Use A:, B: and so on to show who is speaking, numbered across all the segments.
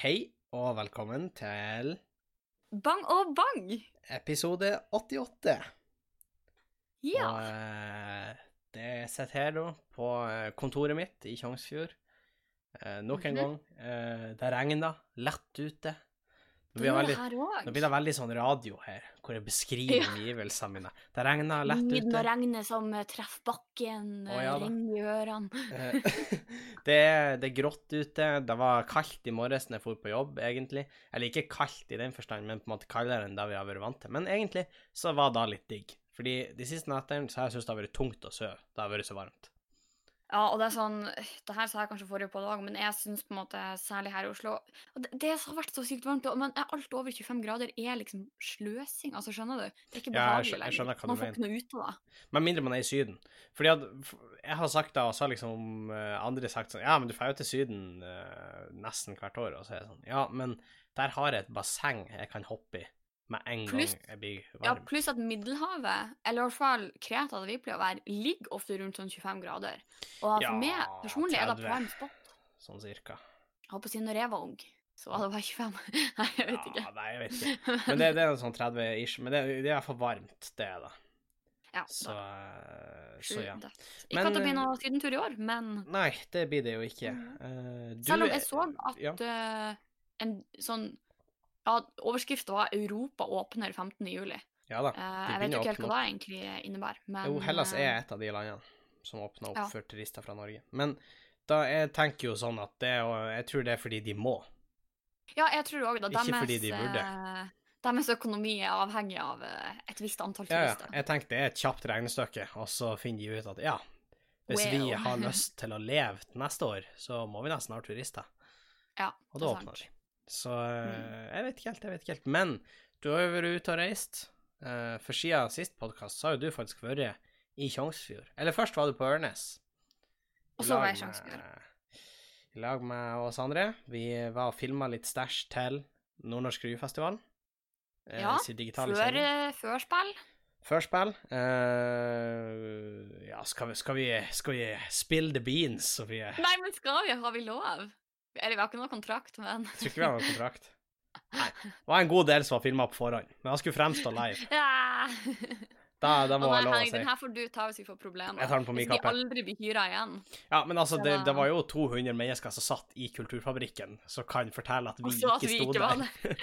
A: Hei, og velkommen til
B: Bang og bang!
A: episode 88.
B: Ja.
A: Og, eh, det sitter her da, på eh, kontoret mitt i Tjongsfjord. Eh, nok en
B: Mhm.
A: gang. Eh, det regner lett ute. Nå
B: Det
A: blir, det
B: gjør
A: veldig,
B: her
A: nå blir
B: òg.
A: det veldig sånn radio her, hvor jeg beskriver
B: Ja.
A: omgivelsene mine. Det regner lett
B: Lyden og
A: ute.
B: regnet som eh, treffer bakken,
A: Å,
B: oh,
A: ja da.
B: ringer i ørene.
A: Eh, det, er, det er grått ute. Det var kaldt i morges da jeg dro på jobb, egentlig. Eller ikke kaldt i den forstand, men på en måte kaldere enn det vi har vært vant til. Men egentlig så var det litt digg. Fordi de siste nettene så har jeg syntes det har vært tungt å sove. Det har vært så varmt.
B: Ja, og det er sånn Det her sa jeg kanskje forrige på dag, men jeg syns på en måte, særlig her i Oslo og det, det har vært så sykt varmt, og- men er alt over 25 grader er liksom sløsing. Altså, skjønner du? Det er ikke
A: Ja, jeg skjø-
B: behagelig
A: jeg skjønner hva du
B: Man får ikke noe ut av det.
A: Med mindre man er i Syden. Fordi at f- jeg har sagt det, og så har liksom eh, andre sagt sånn Ja, men du får jo til Syden eh, nesten hvert år. Og så er jeg sånn Ja, men der har jeg et basseng jeg kan hoppe i med en
B: Pluss-
A: gang jeg blir varm.
B: Ja, Pluss at Middelhavet, eller i hvert fall Kreta, der vi pleier å være, ligger ofte rundt sånn 25 grader. Og for
A: Ja,
B: meg personlig er det
A: 30.
B: prime spot.
A: Sånn cirka.
B: Jeg holdt på å si når jeg var ung, så var det bare 25. Nei, jeg vet ikke.
A: Ja, nei, jeg vet ikke. Men det, det er en sånn 30 ish. Men det, det er for varmt, det er det.
B: ja,
A: Så,
B: da.
A: eh, så ja.
B: Skjønner jeg. Ikke
A: Men,
B: at det blir
A: eh,
B: noe sydentur i år, men
A: Nei, det blir det jo ikke. Eh, du
B: selv om
A: er-
B: jeg så at
A: ja.
B: eh, en sånn ja, Overskriften var 'Europa åpner 15. juli'.
A: Ja da.
B: Eh, jeg
A: begynner
B: vet jo
A: å
B: ikke helt
A: åpne
B: hva det egentlig innebærer, men
A: Jo, Hellas
B: eh,
A: er et av de landene som åpner opp
B: ja.
A: for turister fra Norge. Men da, jeg tenker jo sånn at det er jo- Jeg tror det er fordi de må.
B: Ja, jeg tror òg det.
A: Ikke fordi de burde.
B: eh, Deres økonomi er avhengig av eh, et visst antall
A: Ja, ja.
B: turister.
A: Jeg tenker det er et kjapt regnestykke, og så finner de ut at ja, hvis vi
B: Well.
A: har lyst til å leve til neste år, så må vi nesten ha turister.
B: Ja,
A: Og
B: det
A: da
B: er
A: åpner
B: sant.
A: de. Så
B: Mm.
A: eh, jeg vet ikke helt, jeg vet ikke helt. Men du har jo vært ute og reist. eh, For siden sist podkast så har jo du faktisk vært i Tjongsfjord. Eller først var du på Ørnes.
B: Og så var
A: lag
B: jeg i Tjongsfjord.
A: med- I lag med oss andre. Vi var og filma litt stæsj til Nordnorsk Ryefestival. eh,
B: Ja,
A: sin digitale
B: Før,
A: sending.
B: eh, Førspill.
A: Førspill. eh, ja, skal vi, skal, vi, skal vi spill the beans, eh, Sofie? Jeg
B: Nei, men skal vi? Har vi lov? Eller vi har ikke noe kontrakt, men
A: tror ikke vi har noen kontrakt. Nei. Det var en god del som var filma på forhånd, men han skulle fremstå live.
B: Ja.
A: Da, da
B: Å
A: må
B: nei,
A: jeg lov å
B: Henrik,
A: si.
B: den her får du ta hvis vi får problemer.
A: Jeg tar den på min
B: Hvis vi
A: kappe.
B: aldri blir hyra igjen.
A: Ja, men altså, det,
B: Det var-
A: det var jo 200 mennesker som satt i Kulturfabrikken, som kan fortelle at vi
B: Og så at
A: ikke
B: vi
A: sto
B: ikke var
A: der.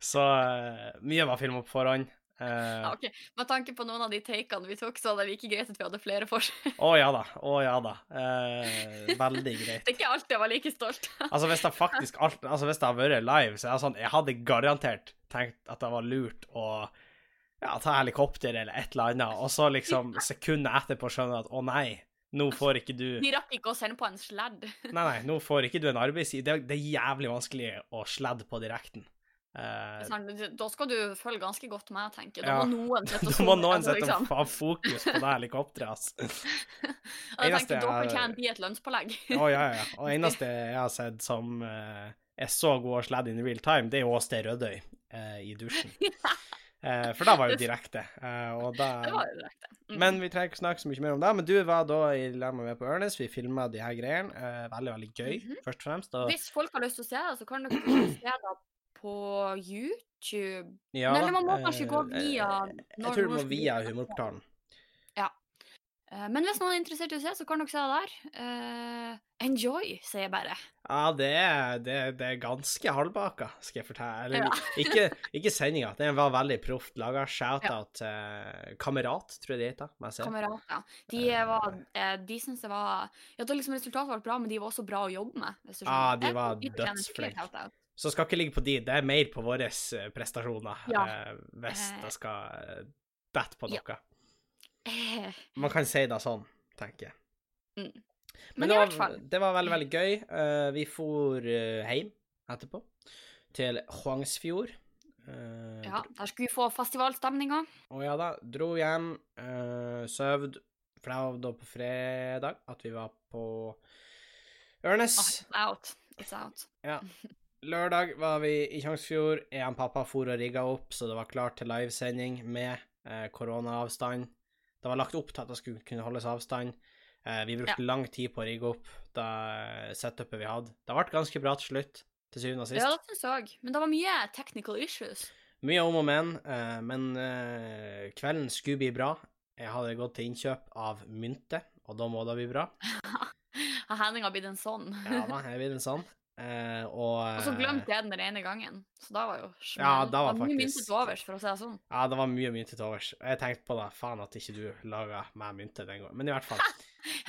A: så eh, mye var filma på forhånd. Eh,
B: Ja, ok. Med tanke på noen av de takene vi tok, så er det like greit at vi hadde flere forsøk.
A: Å ja da, å ja da. Eh, veldig greit.
B: Det er ikke alltid jeg var like stolt.
A: Altså, hvis det faktisk alt, altså, hvis det hadde vært live, så er det sånn Jeg hadde garantert tenkt at det var lurt å ja, ta helikopter eller et eller annet, og så liksom sekundet etterpå skjønner du at å nei, nå får ikke du
B: De rakk ikke å sende på en sledd.
A: Nei, nei, nå får ikke du en arbeidsside. Det, er- det er jævlig vanskelig å sladde på direkten. Eh,
B: Sånn, Da skal du følge ganske godt med, tenker jeg. Da
A: Ja.
B: må noen sette
A: da må
B: zoom,
A: noen
B: altså,
A: sette
B: liksom.
A: faen fokus på det helikopteret, ass.
B: Og jeg
A: eneste
B: tenker, da
A: jeg-
B: kan jeg bli et lønnspålegg.
A: Å, ja, ja. Og eneste jeg har sett som eh, er så god å sladde in real time, det er jo Åste Rødøy eh, i dusjen. Eh, for det var jo direkte. eh, og
B: Det
A: da
B: var jo direkte. Mm.
A: Men vi trenger ikke snakke så mye mer om det. Men du var da i lag med meg på Ørnes, vi filma de her greiene. eh, veldig, veldig gøy,
B: Mhm.
A: først og fremst. Og,
B: Hvis folk har lyst til å se det, så kan dere se det på YouTube.
A: ja,
B: Nei, eller man må kanskje
A: eh,
B: gå via
A: Jeg tror du må
B: Nordnorsk
A: via
B: Humorportal.
A: Humorportalen.
B: Eh, Men hvis noen er interessert i å se, så kan dere se det der. Eh, enjoy, sier jeg bare.
A: Ja, det er, det, er- det er ganske halvbaka, skal jeg fortelle. Eller,
B: Ja.
A: ikke ikke sendinga, den var veldig proft laga. Shout-out til eh, Kamerat, tror jeg det heter. må jeg si.
B: Kamerater. De, var, eh, de syns det var Ja, det liksom resultatet var bra, men de var også bra å jobbe med. Hvis du
A: Ja,
B: skjønner.
A: Ah, de
B: Jeg tror
A: var
B: fortjener en
A: dødsflinke.
B: skikkelig shout-out.
A: Så skal ikke ligge på de, det er mer på våre prestasjoner
B: Ja.
A: eh, hvis
B: Eh.
A: det skal eh, dette på
B: Ja.
A: noe.
B: Eh,
A: Man kan si det sånn, tenker jeg.
B: Mm.
A: Men,
B: Men i
A: det,
B: hvert
A: var,
B: fall.
A: det var veldig, veldig gøy. Eh, vi for eh, hjem etterpå, til Hvangsfjord. Eh,
B: Ja, der skulle vi få festivalstemninga.
A: Og ja da, dro hjem, uh, søvd, for det var da på fredag at vi var på Ørnes.
B: Ah, it's out. It's out.
A: Lørdag var vi i Tjongsfjord, jeg og pappa for og rigga opp, så det var klart til livesending med eh, koronaavstand. Det var lagt opp til at det skulle kunne holdes avstand. Eh, vi brukte lang tid på å rigge opp det setupet vi hadde. Det ble ganske bra til slutt. til syvende og sist.
B: Ja, det syns jeg òg. Men det var mye technical issues.
A: Mye om og men, eh, men eh, kvelden skulle bli bra. Jeg hadde gått til innkjøp av mynte, og da må det bli bra.
B: Har Henning har blitt en sånn.
A: Ja da, jeg blir en sånn. Eh, og eh,
B: Og så glemte jeg den den ene gangen, så da var jo smell.
A: Ja, da var
B: det var mye
A: faktisk-
B: mynte til overs, for å si det sånn.
A: Ja, det var mye mynte til overs. Og Jeg tenkte på det. Faen at ikke du laga meg mynte den gangen. Men i hvert fall.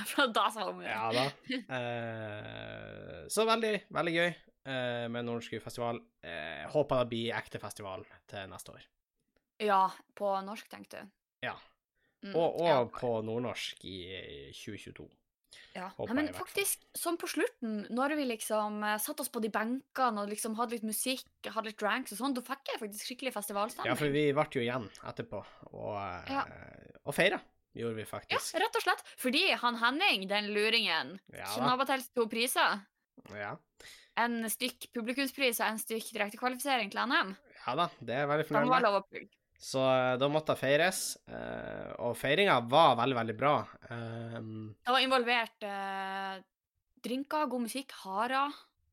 B: For da sa hun
A: Ja da. Eh, så veldig, veldig gøy eh, med Nordsku festival. Eh, håper det blir ekte festival til neste år.
B: ja, på norsk, tenkte du.
A: Ja.
B: Mm,
A: Og, og
B: ja.
A: på nordnorsk i eh, 2022.
B: Ja.
A: Håper
B: Nei, men
A: jeg i hvert fall.
B: faktisk, sånn på slutten, når vi liksom eh, satt oss på de benkene og liksom hadde litt musikk, hadde litt dranks og sånn, da fikk jeg faktisk skikkelig festivalstemning.
A: Ja, for vi ble jo igjen etterpå og, eh,
B: Ja.
A: og feira, gjorde vi
B: Ja,
A: faktisk.
B: rett og slett. Fordi han Henning, den luringen,
A: Ja, da.
B: knabba til to priser.
A: Ja.
B: En stykk publikumspris og en stykk direktekvalifisering til NM.
A: ja da, det er jeg veldig
B: De
A: fornøyd
B: var
A: med.
B: lov å plugge.
A: Så eh, da måtte det feires, eh, og feiringa var veldig, veldig bra. Eh,
B: Det var involvert eh, drinker, god musikk, harer.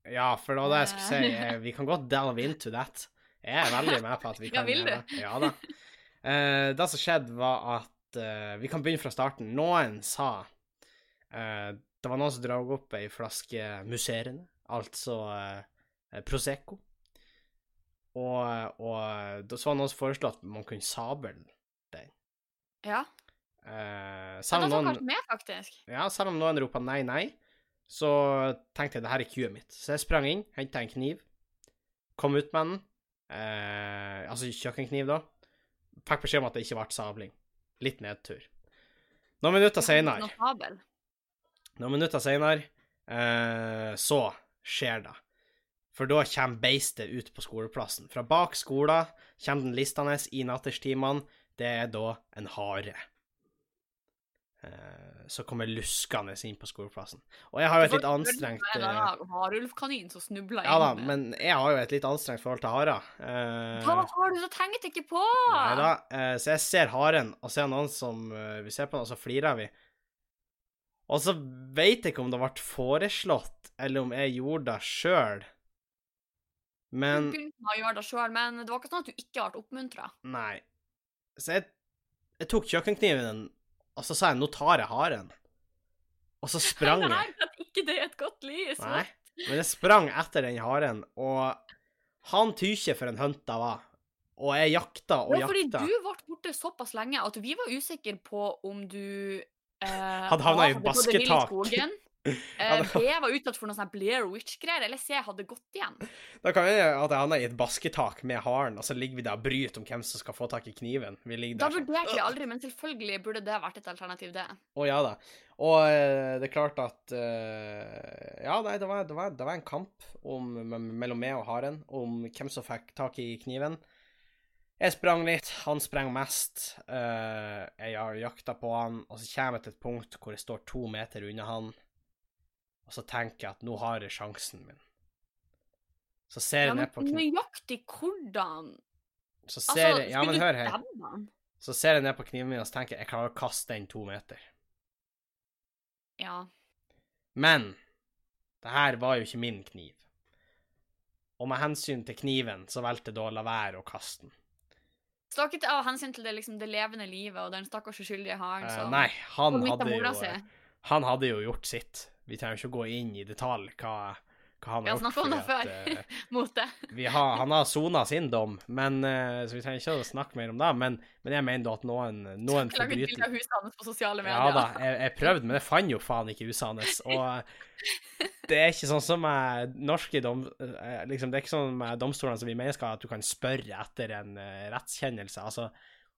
A: Ja, for det var det jeg skulle si.
B: Eh.
A: Eh, Vi kan godt delve into that. Jeg er veldig med på at vi
B: Ja,
A: kan
B: vil
A: gjøre det. Ja da. Eh, det som skjedde, var at eh, Vi kan begynne fra starten. Noen sa eh, Det var noen som dro opp ei flaske musserende, altså eh, Prosecco. Og, og da så var det noen som foreslo at man kunne sable den.
B: Ja.
A: Eh,
B: Men
A: selv
B: da
A: om
B: tok
A: noen
B: Karsten med, faktisk.
A: ja, selv om noen ropa nei, nei, så tenkte jeg det her er queuet mitt. Så jeg sprang inn, henta en kniv, kom ut med den, eh, altså kjøkkenkniv, da. Fikk beskjed om at det ikke ble sabling. Litt nedtur. Noen minutter seinere,
B: Noe fabel.
A: noen minutter senere, eh, så skjer det. For da kommer beistet ut på skoleplassen. Fra bak skolen kommer den listende i natterstimene. Det er da en hare. Eh, Så kommer luskende inn på skoleplassen. Og jeg har jo et litt anstrengt eh,
B: Harulfkanin som snubla
A: Ja da,
B: inn. eh.
A: men jeg har jo et litt anstrengt forhold til harer. Eh,
B: Hva har du så tenkt ikke på?
A: Nei da. eh, Så jeg ser haren, og ser noen som eh, Vi ser på den, og så flirer vi. Og så veit jeg ikke om det ble foreslått, eller om jeg gjorde det sjøl. Men
B: Du begynte å gjøre det sjøl, men det var ikke sånn at du ikke ble oppmuntra.
A: Nei. Så jeg, jeg tok kjøkkenkniven, og så sa jeg 'nå tar jeg haren'. Og så sprang jeg.
B: Nei, at ikke det er et godt lys.
A: Nei. Men jeg sprang etter den haren, og han tykkje for en hønt det var. Og jeg jakta og
B: Det var fordi
A: jakta.
B: du ble borte såpass lenge at vi var usikre på om du eh,
A: Hadde havna
B: A,
A: i
B: gått det vill
A: basketak.
B: skogen, eh,
A: Hadde-
B: B var utsatt for noe sånn Blair Witch-greier, eller C hadde gått igjen.
A: Da kan jeg at jeg havner i et basketak med haren, og så ligger vi der og bryter om hvem som skal få tak i kniven. Vi ligger
B: Da
A: der sånn.
B: vurderte vi aldri, men selvfølgelig burde det vært et alternativ, det.
A: Å ja da. Og eh, det er klart at eh, Ja, nei, det var, det var, det var en kamp om, me- mellom meg og haren om hvem som fikk tak i kniven. Jeg sprang litt, han sprang mest. eh, jeg har jakta på han, og så kommer jeg til et punkt hvor jeg står to meter unna han, og så tenker jeg at nå har jeg sjansen min. Så ser jeg
B: Ja, men
A: ned på kniven
B: nøyaktig hvordan
A: Så
B: Altså,
A: ser jeg Ja, men
B: skulle
A: hør
B: du
A: her.
B: stemme han?
A: Så ser jeg ned på kniven min og så tenker jeg jeg klarer å kaste den to meter.
B: Ja.
A: Men det her var jo ikke min kniv. Og med hensyn til kniven, så valgte jeg da å la være å kaste den.
B: Så ikke av hensyn til det, liksom, det levende livet og den stakkars uskyldige haren
A: Eh,
B: som
A: nei, han
B: som midt av
A: hadde,
B: mora
A: jo, eh,
B: si.
A: han hadde jo gjort sitt. Vi trenger ikke å gå inn i detalj hva, hva han
B: Vi
A: har
B: har
A: gjort.
B: snakket om det
A: fordi
B: før.
A: at, eh,
B: mot det.
A: vi har, han har sona sin dom, men, eh, så vi trenger ikke å snakke mer om det. Men, men jeg mener da at noen, noen
B: Lage et bilde
A: forbrytelser
B: av huset hans på sosiale
A: Ja
B: medier.
A: da, jeg, jeg prøvde, men jeg fant jo faen ikke huset hans. Og det er ikke sånn som eh, norske dom... eh, Liksom, det er ikke sånn med domstolene som vi mennesker, at du kan spørre etter en eh, rettskjennelse. Altså,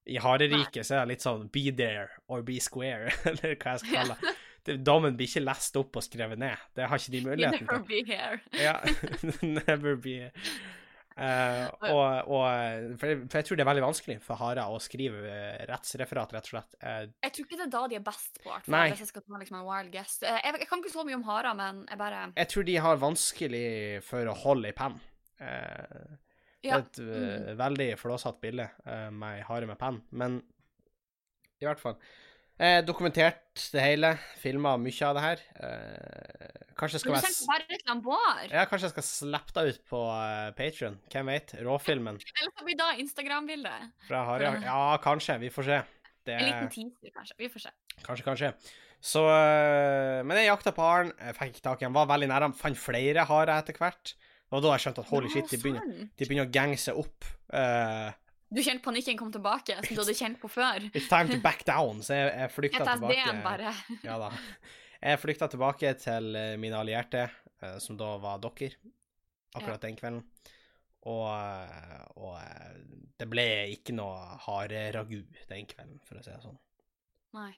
A: i hareriket så er det litt sånn be there or be square, eller hva jeg skal kalle det. det. Dommen blir ikke lest opp og skrevet ned. Det har ikke de
B: You
A: muligheten
B: never
A: til.
B: be here.
A: Ja, never be Eh, og, og for, jeg, for jeg tror det er veldig vanskelig for harer å skrive eh, rettsreferat, rett og slett. Eh,
B: Jeg tror ikke det er da de er best på, i hvert fall,
A: Nei.
B: hvis jeg skal ta liksom en wild guess. Eh, Jeg, jeg kan ikke så mye om harer, men jeg bare
A: Jeg tror de har vanskelig for å holde i penn. Eh, det er
B: Ja.
A: et eh, veldig flåsete bilde eh, med ei hare med penn, men i hvert fall Eh, dokumentert det hele. Filma mye av det her. Eh, kanskje skal jeg
B: Men du trenger
A: s-
B: ikke være et lamboar.
A: ja, kanskje jeg skal slappe deg ut på uh, Patrion. Hvem vet? Råfilmen
B: Eller så blir da Instagram-bildet.
A: fra Harry Ja, kanskje. Vi får se. Det
B: En liten teaser, kanskje. Vi får se.
A: Kanskje, kanskje. Så øh, Men jeg jakta på haren, jeg fikk ikke tak i han, var veldig nær han, fant flere harer etter hvert. Og da jeg skjønte at holy
B: Ja,
A: shit, de begynner,
B: sant.
A: de begynner å gange seg opp. Eh,
B: Du kjente panikken kom tilbake, som du hadde kjent på før.
A: it's time to back down, så jeg, jeg flykta tilbake.
B: PTSD-en bare.
A: Ja da. Jeg flykta tilbake til eh, mine allierte, eh, som da var dere, akkurat den kvelden. Og, eh, og eh, det ble ikke noe hareragu den kvelden, for å si det sånn.
B: Nei.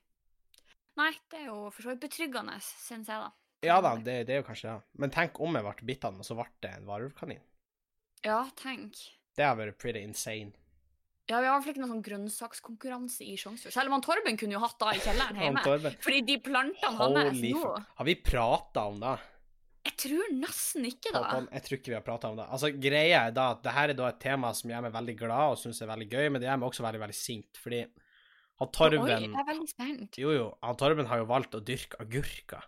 B: Nei, det er jo for så vidt betryggende, syns jeg, da.
A: Ja da, det, det er jo kanskje det. Men tenk om jeg ble bitt av den, og så ble det en varulvkanin.
B: Ja, tenk.
A: Det har vært pretty insane.
B: Ja, Vi har i hvert fall ikke noen sånn grønnsakskonkurranse i Sjongsfjord. Selv om han Torben kunne jo hatt da i kjelleren
A: Han
B: hjemme.
A: Torben.
B: Fordi de plantene hans
A: Holy
B: nå
A: fuck. Har vi prata om det?
B: Jeg tror nesten ikke, da.
A: Håkon, jeg tror ikke vi har prata om det. Altså, greia er da at det her er da et tema som gjør meg veldig glad og syns er veldig gøy, men det gjør meg også veldig, veldig sint, fordi han
B: Oi,
A: Torben
B: jeg er veldig spent.
A: Jo, jo, han Torben har jo valgt å dyrke agurker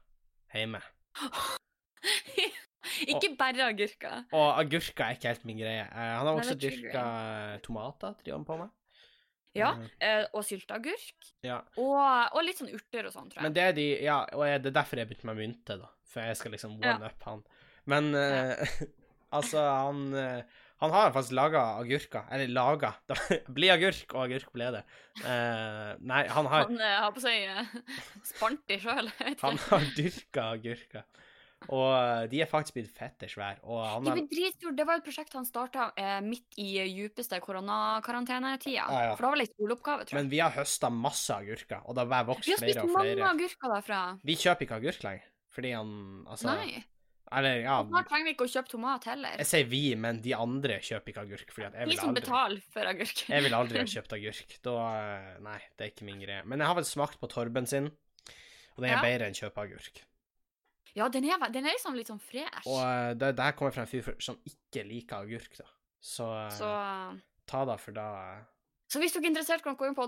A: hjemme.
B: Ikke bare agurker.
A: Og agurker er ikke helt min greie. Eh, han har
B: Nei,
A: også
B: det trigger
A: dyrka tomater, driver han på med.
B: Ja,
A: Eh,
B: eh, Og sylteagurk.
A: ja.
B: Og, og litt sånn urter og sånn, tror
A: Men
B: jeg.
A: det er de Ja, og jeg, det er derfor jeg begynte med mynte, da. For jeg skal liksom one up han. Men eh, altså, han eh, Han har faktisk laga agurker. Eller laga Bli agurk, og agurk ble det. Eh, nei, han har,
B: Han eh, har på seg eh, spant i sjøl.
A: han har dyrka agurker. Og eh, de er faktisk blitt fette svære. Og han
B: De
A: har
B: ble dritstore. Det var jo et prosjekt han starta eh, midt i eh, djupeste koronakarantene-tida.
A: Ja, ja.
B: For da var det en skoleoppgave, tror jeg.
A: Men vi har høsta masse agurker, og det har bare
B: Vi
A: vokst
B: har spist
A: flere og
B: mange
A: flere.
B: agurker derfra.
A: Vi kjøper ikke agurk lenger, fordi han Altså
B: Nei.
A: Eller, ja
B: Snart trenger vi ikke å kjøpe tomat heller.
A: Jeg sier vi, men de andre kjøper ikke agurk, fordi at jeg
B: De
A: vil
B: som
A: aldri
B: betaler for agurk.
A: Jeg ville aldri ha kjøpt agurk. Da eh, Nei, det er ikke min greie. Men jeg har vel smakt på Torben sin, og den er
B: Ja.
A: bedre enn kjøpeagurk.
B: Ja, den er, den er liksom litt sånn fresh.
A: Og eh, det, det her kommer fra en fyr for- som ikke liker agurk, da. Så, eh,
B: Så,
A: ta det for da eh,
B: så hvis du er interessert, kan du gå inn på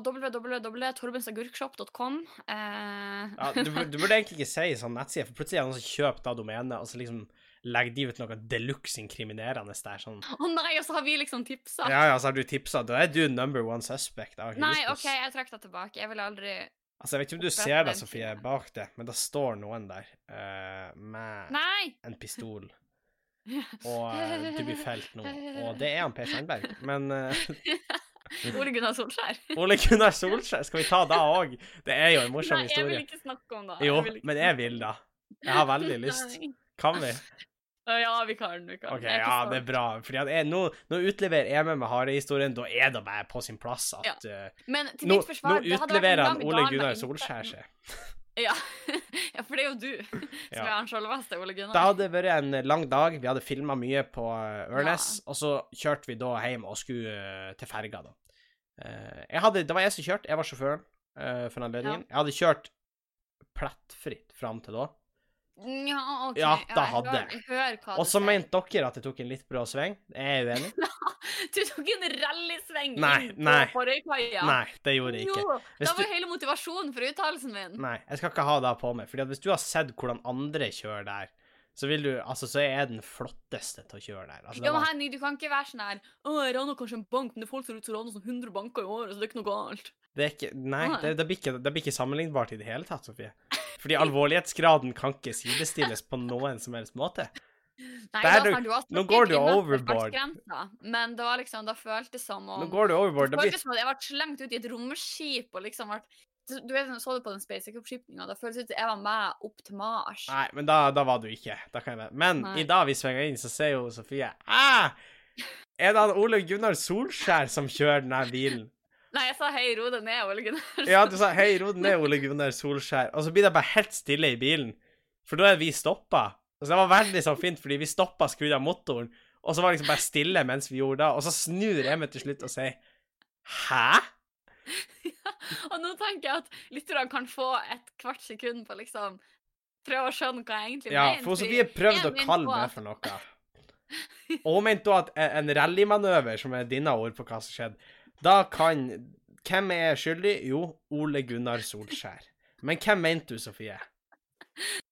B: www.torbensagurkshop.com. Eh,
A: ja, du, bur- du burde egentlig ikke si sånn nettside, for plutselig er det noen som kjøper da domenet, og så liksom legger de ut noe deluxe inkriminerende der, sånn.
B: Å nei, og så har vi liksom tipsa.
A: Ja ja, så har du tipsa. Da er du number one suspect. Jeg har ikke
B: nei,
A: lyst til å
B: OK, jeg trekker det tilbake. Jeg ville aldri
A: Altså, jeg vet ikke om du
B: Opprette
A: ser det,
B: den
A: Sofie,
B: siden.
A: bak det, men det står noen der eh, med
B: Nei!
A: en pistol. Og eh, du blir felt nå. Og det er han Per Sandberg. Men eh, Mm.
B: Ole Gunnar Solskjær.
A: Ole Gunnar Solskjær, skal vi ta da òg? Det er jo en morsom
B: Nei, jeg vil
A: historie.
B: ikke snakke om det.
A: Jo,
B: vil ikke
A: men jeg
B: snakke
A: vil
B: om
A: da. Jeg har veldig lyst.
B: Nei.
A: Kan vi?
B: Å, Ja, vi kan den.
A: OK, ja, det er bra. Fordi at jeg, nå, nå utleverer jeg meg med harehistorien. Da er det bare på sin plass at eh,
B: Men til
A: nå, nå
B: mitt forsvar det hadde vært en
A: utleverer han
B: lang
A: Ole
B: dag med
A: Gunnar
B: innspilling.
A: Solskjær seg.
B: Ja. ja, for det er jo du som
A: Ja.
B: er han selveste Ole Gunnar.
A: Det hadde vært en lang dag, vi hadde filma mye på eh, Ørnes, og så kjørte vi da hjem og skulle eh, til ferga, da. Eh, Jeg hadde, det var jeg som kjørte, jeg var sjåføren eh, for den anledningen. Jeg hadde kjørt plettfritt fram til da.
B: Ja, ok.
A: Ja, da
B: jeg
A: hadde
B: hører- jeg. hører hva
A: Og
B: du
A: så
B: sier.
A: mente dere at jeg tok en litt brå sving. Jeg er uenig.
B: Du tok en rallysving
A: Nei,
B: inn
A: nei.
B: på Røykaia.
A: Nei, det gjorde jeg ikke.
B: Jo,
A: Hvis
B: da var
A: du-
B: hele motivasjonen for uttalelsen min.
A: Nei, jeg skal ikke ha det på meg, Fordi at hvis du har sett hvordan andre kjører der, så vil du Altså, så er jeg den flotteste til å kjøre der. Altså, det
B: Ja, men
A: var-
B: Henning, du kan ikke være sånn her Å, jeg rana kanskje en bank, men det er folk som raner sånn 100 banker i året, så det er ikke noe galt.
A: Det er ikke Nei,
B: Nei.
A: det, det, blir ikke, det blir ikke sammenlignbart i det hele tatt, Sofie. Fordi alvorlighetsgraden kan ikke sidestilles på noen som helst måte.
B: Nei,
A: Der
B: da,
A: du-
B: sånn, du har
A: nå
B: snakket
A: går du
B: i møte med
A: overboard.
B: fartsgrensa, Men det var liksom, da føltes som om
A: Nå går du overboard. Det
B: Det
A: blir,
B: føltes som at jeg ble slengt ut i et romskip og liksom ble du vet, Så du på den SpaceX-oppskipninga? Det føltes ut som jeg var med opp til Mars.
A: nei, men da, da var du ikke. Da kan jeg være. Men
B: Nei.
A: i dag vi svinger inn, så ser jo Sofie ah, Er det han Ole Gunnar Solskjær som kjører denne bilen?
B: Nei, jeg sa hei, ro deg ned, Ole Gunnar.
A: Ja, du sa 'hei, ro den ned, Ole Gunnar Solskjær', og så blir det bare helt stille i bilen. For da er vi stoppa. Og så det var veldig sånn fint, fordi vi stoppa, skrudde av motoren, og så var det liksom bare stille mens vi gjorde det, og så snur jeg meg til slutt og sier 'hæ'?
B: Og nå tenker jeg at lytterne kan få et kvart sekund på liksom prøve å skjønne hva jeg egentlig
A: Ja,
B: mener.
A: for
B: fordi-
A: Sofie prøvde
B: jeg
A: å
B: mente
A: kalle
B: også
A: meg
B: at-
A: for noe. Og hun mente da at en rallymanøver, som er dine ord på hva som skjedde, da kan Hvem er skyldig? Jo, Ole Gunnar Solskjær. Men hvem mente du, Sofie?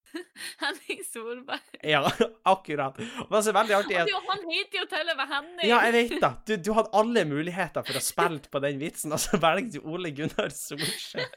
B: Henning Solberg.
A: Ja, akkurat. Og det er så veldig artig at
B: Jo, han heter jo til og med Henning!
A: Ja, jeg vet da. Du, du hadde alle muligheter for å spille på den vitsen, og så velger du Ole Gunnar Solskjær.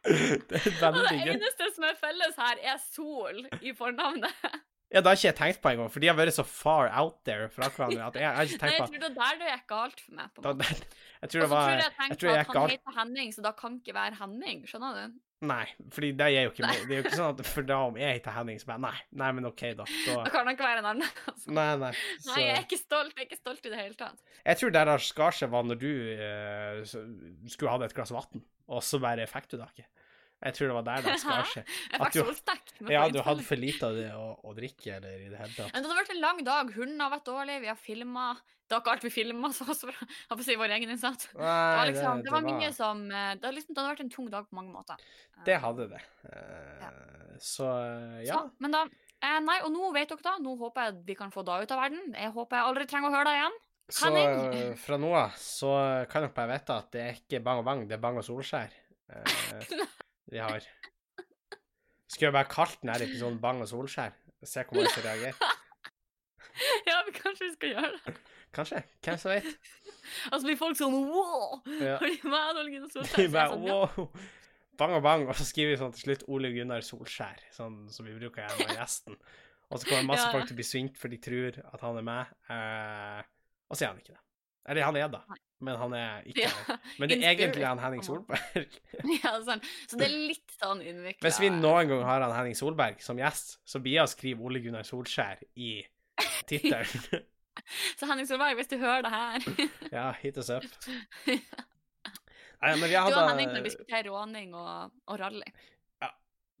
A: Det er
B: Og det
A: veldig gøy.
B: eneste som er felles her, er Sol i fornavnet.
A: Ja, det har ikke jeg tenkt på engang, for de har vært så far out there fra hverandre at jeg, jeg har ikke
B: Nei,
A: tenkt
B: jeg
A: på
B: tror det der det gikk galt for meg. på en
A: da,
B: måte.
A: det, Jeg tror det
B: Og så tror
A: var
B: jeg jeg tenkte
A: tror jeg
B: at
A: gikk
B: han
A: galt.
B: heter Henning, så da kan ikke være Henning. Skjønner du?
A: Nei, fordi det er jo ikke
B: Nei.
A: Det er jo ikke sånn at for da om jeg heter Henning, så bare Nei, nei, men OK, da.
B: Da
A: da
B: kan han ikke være en annen. Altså.
A: nei, nei. Så
B: Nei, jeg er ikke stolt. Jeg er ikke stolt i det hele tatt.
A: jeg tror der har skarset var når du eh, så- skulle hatt et glass vann, og så bare fikk du det ikke. Jeg tror det var der det skar seg.
B: Jeg
A: At
B: fikk
A: du-
B: solstekt. med
A: Ja,
B: på
A: du hadde
B: innspilling.
A: for lite av det å, å drikke, eller i det hele tatt.
B: Men det hadde vært en lang dag. Hunden har vært dårlig, vi har filma. Det var ikke alt vi filma, så også, jeg holdt på å si vår egen innsats. Det var,
A: Nei,
B: liksom, det var mye som eh, det, var liksom, det hadde vært en tung dag på mange måter.
A: Det
B: Eh,
A: hadde det. Eh, Så ja.
B: Så, men da eh, Nei, og nå vet dere da, nå håper jeg vi kan få da ut av verden. Jeg håper jeg aldri trenger å høre det igjen.
A: Så
B: Henning.
A: eh, fra nå av så kan dere bare vite at det er ikke Bang og Bang, det er Bang og Solskjær eh, vi har. Skulle jeg bare kalt denne episoden Bang og Solskjær? Se hvor mange som reagerer.
B: ja, men kanskje vi skal gjøre det.
A: Kanskje. Hvem som vet?
B: Og så blir folk sånn wow!
A: Ja.
B: Fordi meg og Ole Gunnar
A: Vi
B: Solskjær så er jeg
A: bare
B: sånn, ja.
A: wow. Bang og Bang, og så skriver vi sånn til slutt Ole Gunnar Solskjær, sånn som vi bruker gjennom gjesten. Og så kommer masse
B: Ja, ja.
A: folk til å bli svint, for de tror at han er med, eh, og så er han ikke det. Eller han er det, men han er ikke
B: Ja,
A: det. Men det
B: in
A: er egentlig
B: spirit,
A: han Henning
B: på en
A: Solberg.
B: ja, sånn. Så det er litt sånn innvikla.
A: Hvis vi noen gang har han Henning Solberg som gjest, så blir jeg å skrive Ole Gunnar Solskjær i tittelen.
B: Så Henning Solberg, hvis du hører det her
A: ja, hit us up. Nei, men vi
B: Du og Henning
A: hadde
B: kan diskutere råning og, og rally.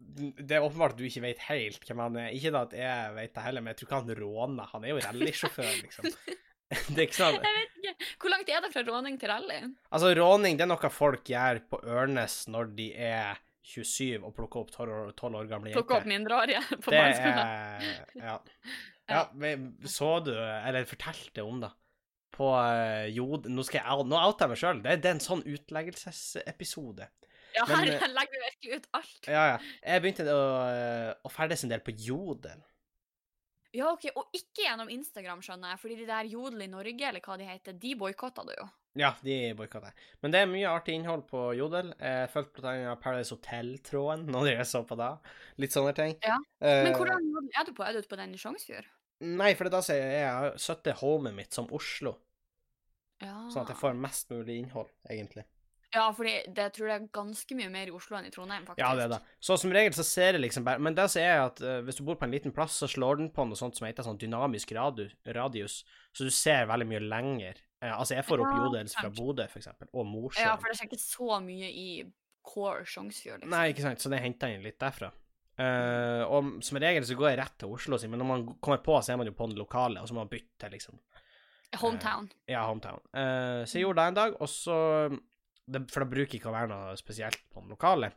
A: Det er åpenbart at du ikke vet helt hvem han er. Ikke da at jeg vet det heller, men jeg tror ikke han råner. Han er jo rallysjåfør, liksom. Det er ikke sånn
B: Jeg vet ikke. Hvor langt er det fra råning til rally?
A: Altså, råning det er noe folk gjør på Ørnes når de er 27 og plukker opp 12 år, 12 år gamle
B: Plukke opp
A: jenter.
B: mindreårige på
A: Det
B: barneskolen?
A: er Ja. ja men så du, eller fortalte om det, på eh, Jod... Nå skal jeg out- nå outer jeg meg sjøl. Det, det er en sånn utleggelsesepisode.
B: Ja,
A: men,
B: her
A: eh,
B: legger vi virkelig ut alt.
A: Ja, ja. Jeg begynte å, eh, å ferdes en del på Jodel.
B: Ja, ok, Og ikke gjennom Instagram, skjønner jeg, fordi de der Jodel i Norge, eller hva de heter, de boikotta det jo.
A: Ja, de boikotta jeg. Men det er mye artig innhold på Jodel. Jeg fulgte blant annet Paradise Hotel-tråden når jeg så på det. Litt sånne ting.
B: Ja.
A: Eh,
B: Men hvordan Jodel er du på? Er du på den i Sjongsfjord?
A: Nei, for det er da sier jeg jeg har satt homet mitt som Oslo,
B: Ja.
A: sånn at jeg får mest mulig innhold, egentlig.
B: ja, fordi det jeg tror det er ganske mye mer i Oslo enn i Trondheim, faktisk.
A: Ja, det er det. Så som regel så ser jeg liksom bare Men det som er at eh, hvis du bor på en liten plass, så slår den på noe sånt som heter sånn dynamisk radu, radius, så du ser veldig mye lenger. Eh, altså, jeg får opp
B: Ja,
A: Jodels fra
B: sant.
A: Bodø, for eksempel, og Mosjøen.
B: Ja, for det skjer ikke så mye i core Sjongsfjord, liksom.
A: Nei, ikke sant, så det henter jeg inn litt derfra. Eh, og som regel så går jeg rett til Oslo, si, men når man kommer på, så er man jo på den lokale, og så må man bytte, liksom.
B: Hometown.
A: Ja, hometown. Eh, så jeg gjorde det en dag, og så det, For da bruker jeg ikke å være noe spesielt på den lokale.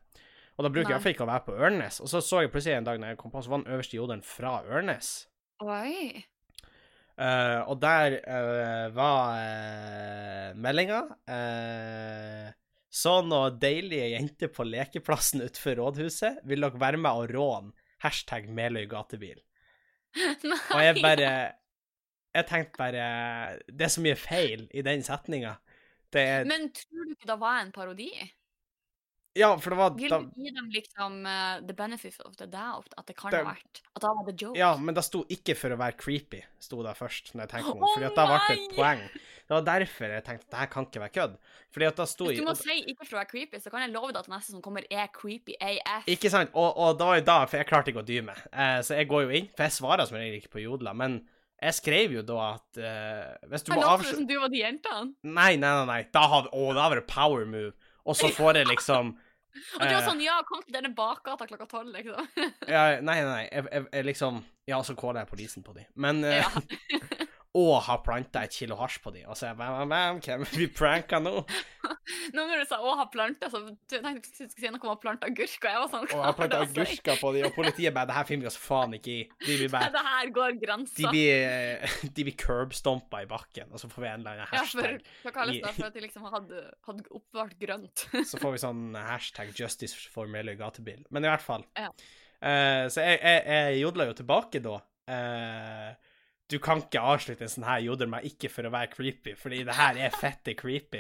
A: Og da bruker jeg
B: Nei.
A: iallfall ikke å være på Ørnes. Og så så jeg plutselig en dag når jeg kom på, så var den øverste jodelen fra Ørnes.
B: Oi.
A: Eh, og der eh, var uh, meldinga eh, Så noen deilige jenter på lekeplassen utenfor rådhuset. Vil dere være med og råne? Hashtag Meløy gatebil.
B: Nei.
A: Og jeg bare Jeg tenkte bare Det er så mye feil i den setninga. Det er
B: Men tror du ikke det var en parodi?
A: Ja, for det var
B: Vil
A: da,
B: du gi dem liksom eh, the benefit of the doubt? At det kan
A: Det-
B: ha vært At det var the joke?
A: Ja, men det sto ikke for å være creepy, sto det først, når jeg tenkte meg om.
B: Å,
A: Fordi at da ble det et
B: nei!
A: poeng. Det var derfor jeg tenkte at det her kan ikke være kødd. Fordi at da sto
B: Hvis
A: i
B: du må si ikke for å være creepy, så kan jeg love deg at neste som kommer, er creepy AF.
A: Ikke sant? Og, og det var jo da, for jeg klarte ikke å dy meg. Eh, så jeg går jo inn, for jeg svarer som regel ikke på jodla, men jeg skrev jo da at eh, Hvis du må
B: Jeg lot
A: avslutte
B: som du var de jentene.
A: Nei, nei, nei, nei. Da har vi Å, da var det power move. Og så får jeg liksom
B: Og du var
A: eh,
B: sånn Ja, kom til denne bakgata klokka tolv, liksom.
A: Ja, nei, nei, nei. Jeg, jeg, jeg liksom Ja, så caller jeg polisen på de. Men eh,
B: Ja.
A: Og har planta et kilo hasj på de. Og så er jeg bam, bam, bam, hvem vi pranka nå?
B: Nå når du sa 'å, ha planter', så tenkte jeg du skulle si noe om å plante agurk, og jeg var sånn
A: Og har planta
B: er det å si?
A: agurker på de, og politiet bare Det her finner vi oss faen ikke i. De blir bare
B: Det her går
A: De
B: grensa.
A: blir, eh, de blir curbstompa i bakken, og så får vi en eller annen
B: Ja, for
A: hashtag.
B: hva kalles det
A: i-
B: for at de liksom hadde, hadde oppvart grønt?
A: Så får vi sånn hashtag 'justice for Meløy gatebil'. Men i hvert fall.
B: Ja.
A: Eh, så jeg, jeg, jeg jodla jo tilbake da. Eh, du kan ikke avslutte en sånn her 'jodel meg ikke' for å være creepy, fordi det her er fette creepy,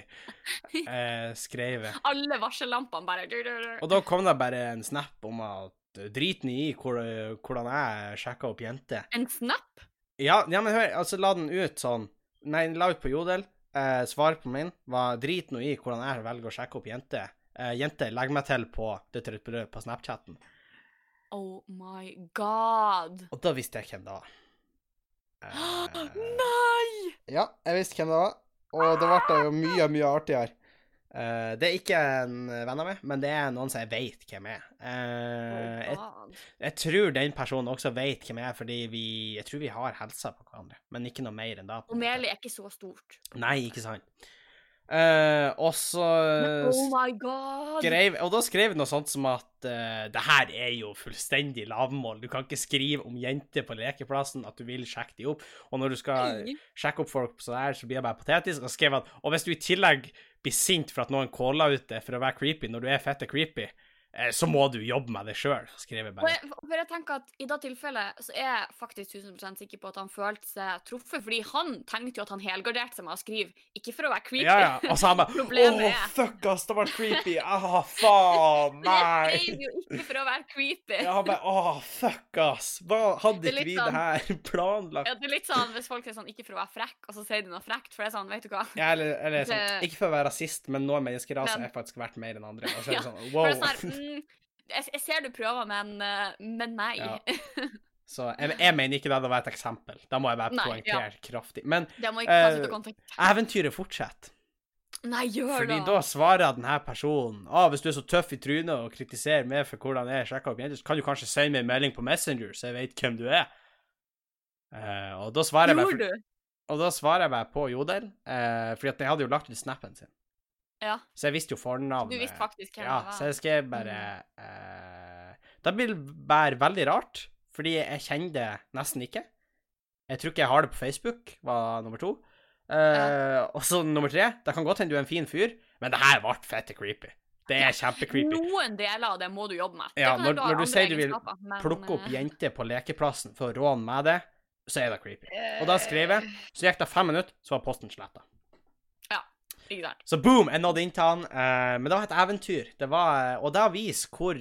A: uh, skrev jeg.
B: Alle varsellampene bare du, du, du.
A: Og da kom det bare en snap om at drit nå i hvor, hvordan jeg sjekka opp jenter.
B: En snap?
A: Ja, ja, men hør, altså la den ut sånn Nei, la ut på Jodel. Eh, svaret på min var drit nå i hvordan jeg velger å sjekke opp jenter. Eh, jenter, legg meg til på Dødt rødt brød på Snapchatten.
B: Oh my god.
A: Og da visste jeg hvem det var. Eh,
B: Nei!
A: ja, jeg visste hvem det var, og da ble det jo mye, mye artigere. Eh, det er ikke en venn av meg, men det er noen som jeg veit hvem er. Eh, jeg,
B: Oh god.
A: jeg tror den personen også veit hvem jeg er, fordi vi Jeg tror vi har helsa på hverandre, men ikke noe mer enn det. på
B: Og
A: en måte.
B: melet er ikke så stort.
A: Nei, ikke sant. Eh, og så Eh,
B: Men oh my god.
A: skrev Og da skrev jeg noe sånt som at eh, det her er jo fullstendig lavmål. Du kan ikke skrive om jenter på lekeplassen at du vil sjekke de opp. Og når du skal
B: Nei.
A: sjekke opp folk på sånn her, så blir jeg bare patetisk. Og så skrev han og hvis du i tillegg blir sint for at noen calla ut det for å være creepy når du er fette creepy, eh, så må du jobbe med det sjøl, skrev jeg
B: Og
A: bare.
B: jeg, for jeg tenker at I det tilfellet så er jeg faktisk 1000 sikker på at han følte seg truffet, fordi han tenkte jo at han helgarderte seg med å skrive, ikke for å være creepy.
A: Ja, ja. Og så han bare
B: Problemet
A: Å,
B: er-
A: fuck ass, det var creepy. Ah, faen,
B: Men jeg
A: nei.
B: skrev jo ikke for å være creepy.
A: Ja, han bare Åh, fuck, ass! Hva hadde
B: Det er
A: ikke
B: litt
A: vi det
B: sånn-
A: her
B: Ja,
A: planlagt?
B: det er litt sånn hvis folk sier sånn 'ikke for å være frekk', og så sier de noe frekt, for det er sånn, vet du hva
A: Ja, eller, eller sånn,
B: Det-
A: Ikke for å være rasist, men noen menneskeraser
B: Men-
A: er faktisk verdt mer enn andre. Og så er det
B: Ja,
A: sånn,
B: For det er sånn
A: wow.
B: her, mm, jeg, jeg ser du prøver, men, eh, men nei.
A: Ja. Så jeg, jeg mener ikke det hadde vært et eksempel. Da må jeg bare
B: Nei, ja.
A: poengtere kraftig. Men
B: Det må ikke tas
A: Eh,
B: ut av kontekst.
A: eventyret fortsetter.
B: Nei, gjør
A: Fordi
B: det!
A: da svarer denne personen ah, hvis du er så tøff i trynet og kritiserer meg for hvordan jeg sjekker opp jenter, så kan du kanskje sende meg en melding på Messenger, så jeg vet hvem du er. Eh, og da svarer jeg bare
B: Gjorde du?
A: Og da svarer jeg bare på Jodel, eh, fordi at jeg hadde jo lagt ut snappen sin.
B: Ja.
A: Så jeg visste jo fornavnet.
B: Du visste Mm. faktisk hvem
A: ja,
B: det var.
A: Så jeg skrev bare eh, Det blir bare veldig rart, fordi jeg kjenner det nesten ikke. Jeg tror ikke jeg har det på Facebook, var nummer to. Eh, Og så nummer tre, det kan godt hende du er en fin fyr, men det her ble fette creepy. Det er kjempecreepy.
B: Noen deler av det må du jobbe med. Det
A: Ja,
B: kan hende
A: når-
B: har
A: når du
B: andre
A: sier du vil
B: egenskaper, men,
A: Plukke opp
B: eh,
A: jenter på lekeplassen for å råne med det, så er det creepy. Og da skrev jeg, så gikk det fem minutter, så var posten sletta.
B: Ikke sant.
A: Så boom, jeg nådde inn til han. eh, men det var et eventyr. Det var, eh, og det viser hvor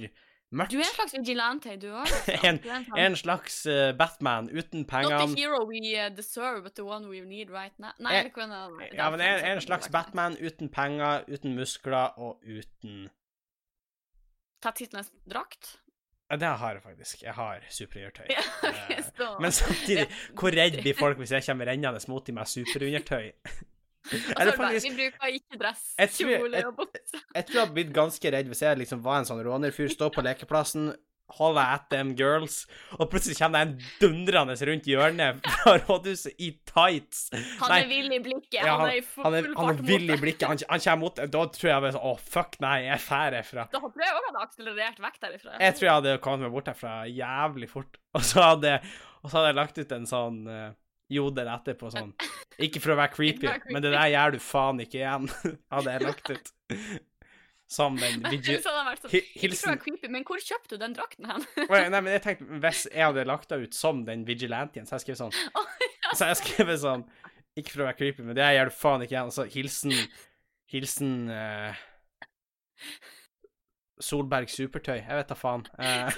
A: mørkt
B: Du er en slags vigilante, du òg.
A: En- en slags eh, Batman uten
B: Not the
A: pengene
B: hero we eh, deserve, but the one we need right now. Nei,
A: Eh,
B: det kunne jeg-
A: Ja, men
B: det er
A: en, en slags
B: liksom.
A: Batman uten penger, uten muskler og uten
B: Ta titlenes drakt?
A: Ja, det har jeg faktisk. Jeg har superhjørtøy.
B: Ja,
A: Eh,
B: ok, så-
A: Men samtidig,
B: Ja.
A: hvor redd blir folk hvis jeg kommer rennende mot dem med superundertøy?
B: Og så
A: Eller
B: er Altså, det bare,
A: faktisk
B: Vi bruker ikke dress,
A: Jeg tror-
B: kjole
A: jeg-
B: og bukse.
A: Jeg tror jeg hadde blitt ganske redd hvis jeg liksom var en sånn rånerfyr, står på lekeplassen, holder at them girls, og plutselig kommer det en dundrende rundt hjørnet fra rådhuset i tights.
B: Han
A: Nei.
B: er vill i blikket.
A: Ja,
B: han er i full,
A: Han er,
B: full
A: han
B: fart
A: er vill i
B: mot deg.
A: blikket, han, han kommer mot Da tror jeg bare sånn Å, fuck, nei, jeg drar herfra.
B: Da tror jeg òg han har akselerert vekk derifra.
A: Jeg tror jeg hadde kommet meg bort herfra jævlig fort, og så hadde, og så hadde jeg lagt ut en sånn eh, jodel etterpå sånn Ikke for å være creepy,
B: Ikke for å være
A: men det der gjør du faen ikke igjen, hadde jeg lagt ut. Som den vigi-
B: Så hadde han vært sånn,
A: hi-
B: Ikke for å
A: hilsen
B: være creepy, men hvor kjøpte du den drakten hen?
A: Well, nei, men jeg tenkte, Hvis jeg hadde lagt deg ut som den vigilantien, så jeg skrev sånn
B: Å,
A: Så jeg skrev sånn Ikke for å være creepy, men det her gjør du faen ikke igjen. Altså, hilsen Hilsen eh, Solberg Supertøy. Jeg vet da faen. Eh,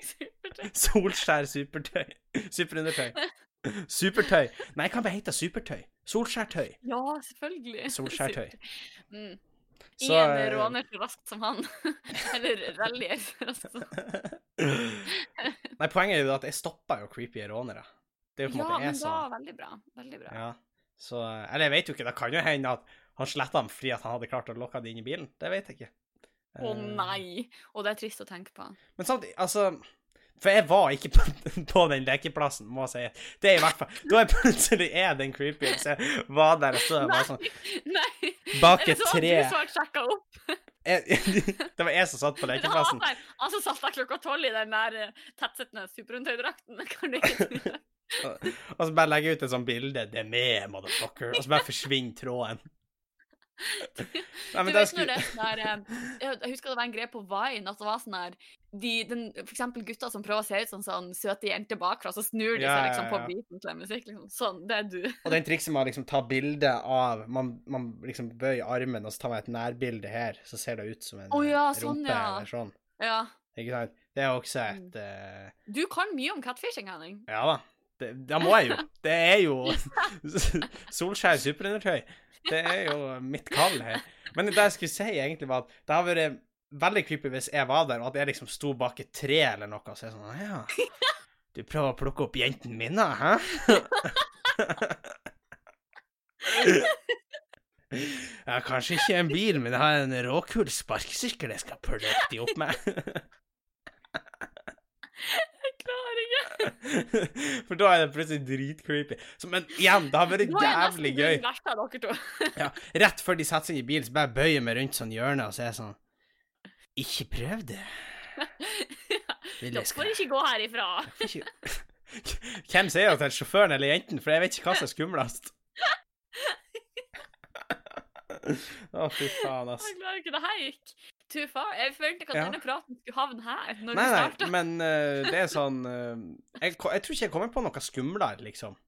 B: Så det var ikke supert.
A: Solskjær Supertøy. Superundertøy. Supertøy. Nei, hva bare heter Supertøy? Solskjærtøy.
B: Ja, selvfølgelig.
A: Solskjærtøy.
B: Supert. Mm.
A: Så,
B: Ingen
A: eh,
B: råner så raskt som han. Eller rallyer så raskt som
A: Nei, poenget er jo at jeg stoppa jo creepy rånere. Det er jo på en
B: Ja,
A: måte
B: men
A: jeg
B: da
A: som
B: Veldig bra. Veldig bra.
A: Ja. Så eh, Eller jeg vet jo ikke, det kan jo hende at han sletta dem fordi at han hadde klart å lokke dem inn i bilen. Det vet jeg ikke.
B: Å
A: Eh,
B: nei! Og det er trist å tenke på.
A: Men samtidig, altså For jeg var ikke på, på den lekeplassen, må jeg si. Det er i hvert fall Da jeg plutselig er den creepy, så jeg var der og stod og bare sånn
B: Nei!
A: bak
B: Er det
A: et
B: sånn at
A: tre
B: du som har sjekka opp?
A: jeg, Det var jeg som satt på
B: Men han var
A: lekeplassen.
B: der. Han som Altså, satt der klokka tolv i den der eh, tettsittende superhundtøydrakten. det kan du ikke tro.
A: Og så bare legger jeg ut et sånt bilde. 'Det er med, motherfucker.' Og så bare forsvinner tråden. Nei,
B: Du
A: men det
B: vet når det
A: skulle
B: er sånn der, eh, jeg jeg husker det var en greie på Vine at det var sånn der de, den, For eksempel gutter som prøver å se ut som sånn søte jenter bakfra, så snur de
A: Ja,
B: seg
A: ja,
B: liksom på
A: ja.
B: beaten til en musikk. Liksom. Sånn, det er du.
A: Og den trikset med å liksom ta bilde av man, man liksom bøyer armen, og så tar man et nærbilde her, så ser det ut som en
B: Å ja,
A: eh,
B: sånn,
A: rumpe
B: ja. Mm.
A: eller sånn.
B: Ja.
A: Ikke sant? Det er også et eh,
B: Du kan mye om catfishing, Henning.
A: Ja da. Det, da må jeg jo. Det er jo Solskjær superundertøy. Det er jo mitt kall her. Men det jeg skulle si, egentlig, var at det har vært veldig creepy hvis jeg var der, og at jeg liksom sto bak et tre eller noe, og så er jeg sånn Ja, du prøver å plukke opp jentene mine, hæ? Jeg har kanskje ikke en bil, men jeg har en råkul sparkesykkel jeg skal plukke de opp med.
B: Jeg klarer ikke.
A: For da er det plutselig dritcreepy. Så- Men igjen, det har vært
B: Nå er jeg nesten
A: jævlig gøy.
B: den verste av dere to.
A: Ja, rett før de setter seg inn i bilen, så bare bøyer jeg meg rundt sånn hjørnet og så er jeg sånn Ikke prøv det. Vil jeg
B: Dere
A: skal
B: får ikke gå herifra.
A: ikke Hvem sier det til sjåføren eller jenten, for jeg vet ikke hva som er skumlest. Å, fy faen, ass.
B: Jeg klarer ikke. Det her gikk too far. Jeg følte ikke at
A: Ja.
B: denne praten skulle havne her. når
A: Nei,
B: du
A: nei,
B: starta.
A: men eh, det er sånn eh, jeg, ko- jeg tror ikke jeg kommer på noe skumlere, liksom.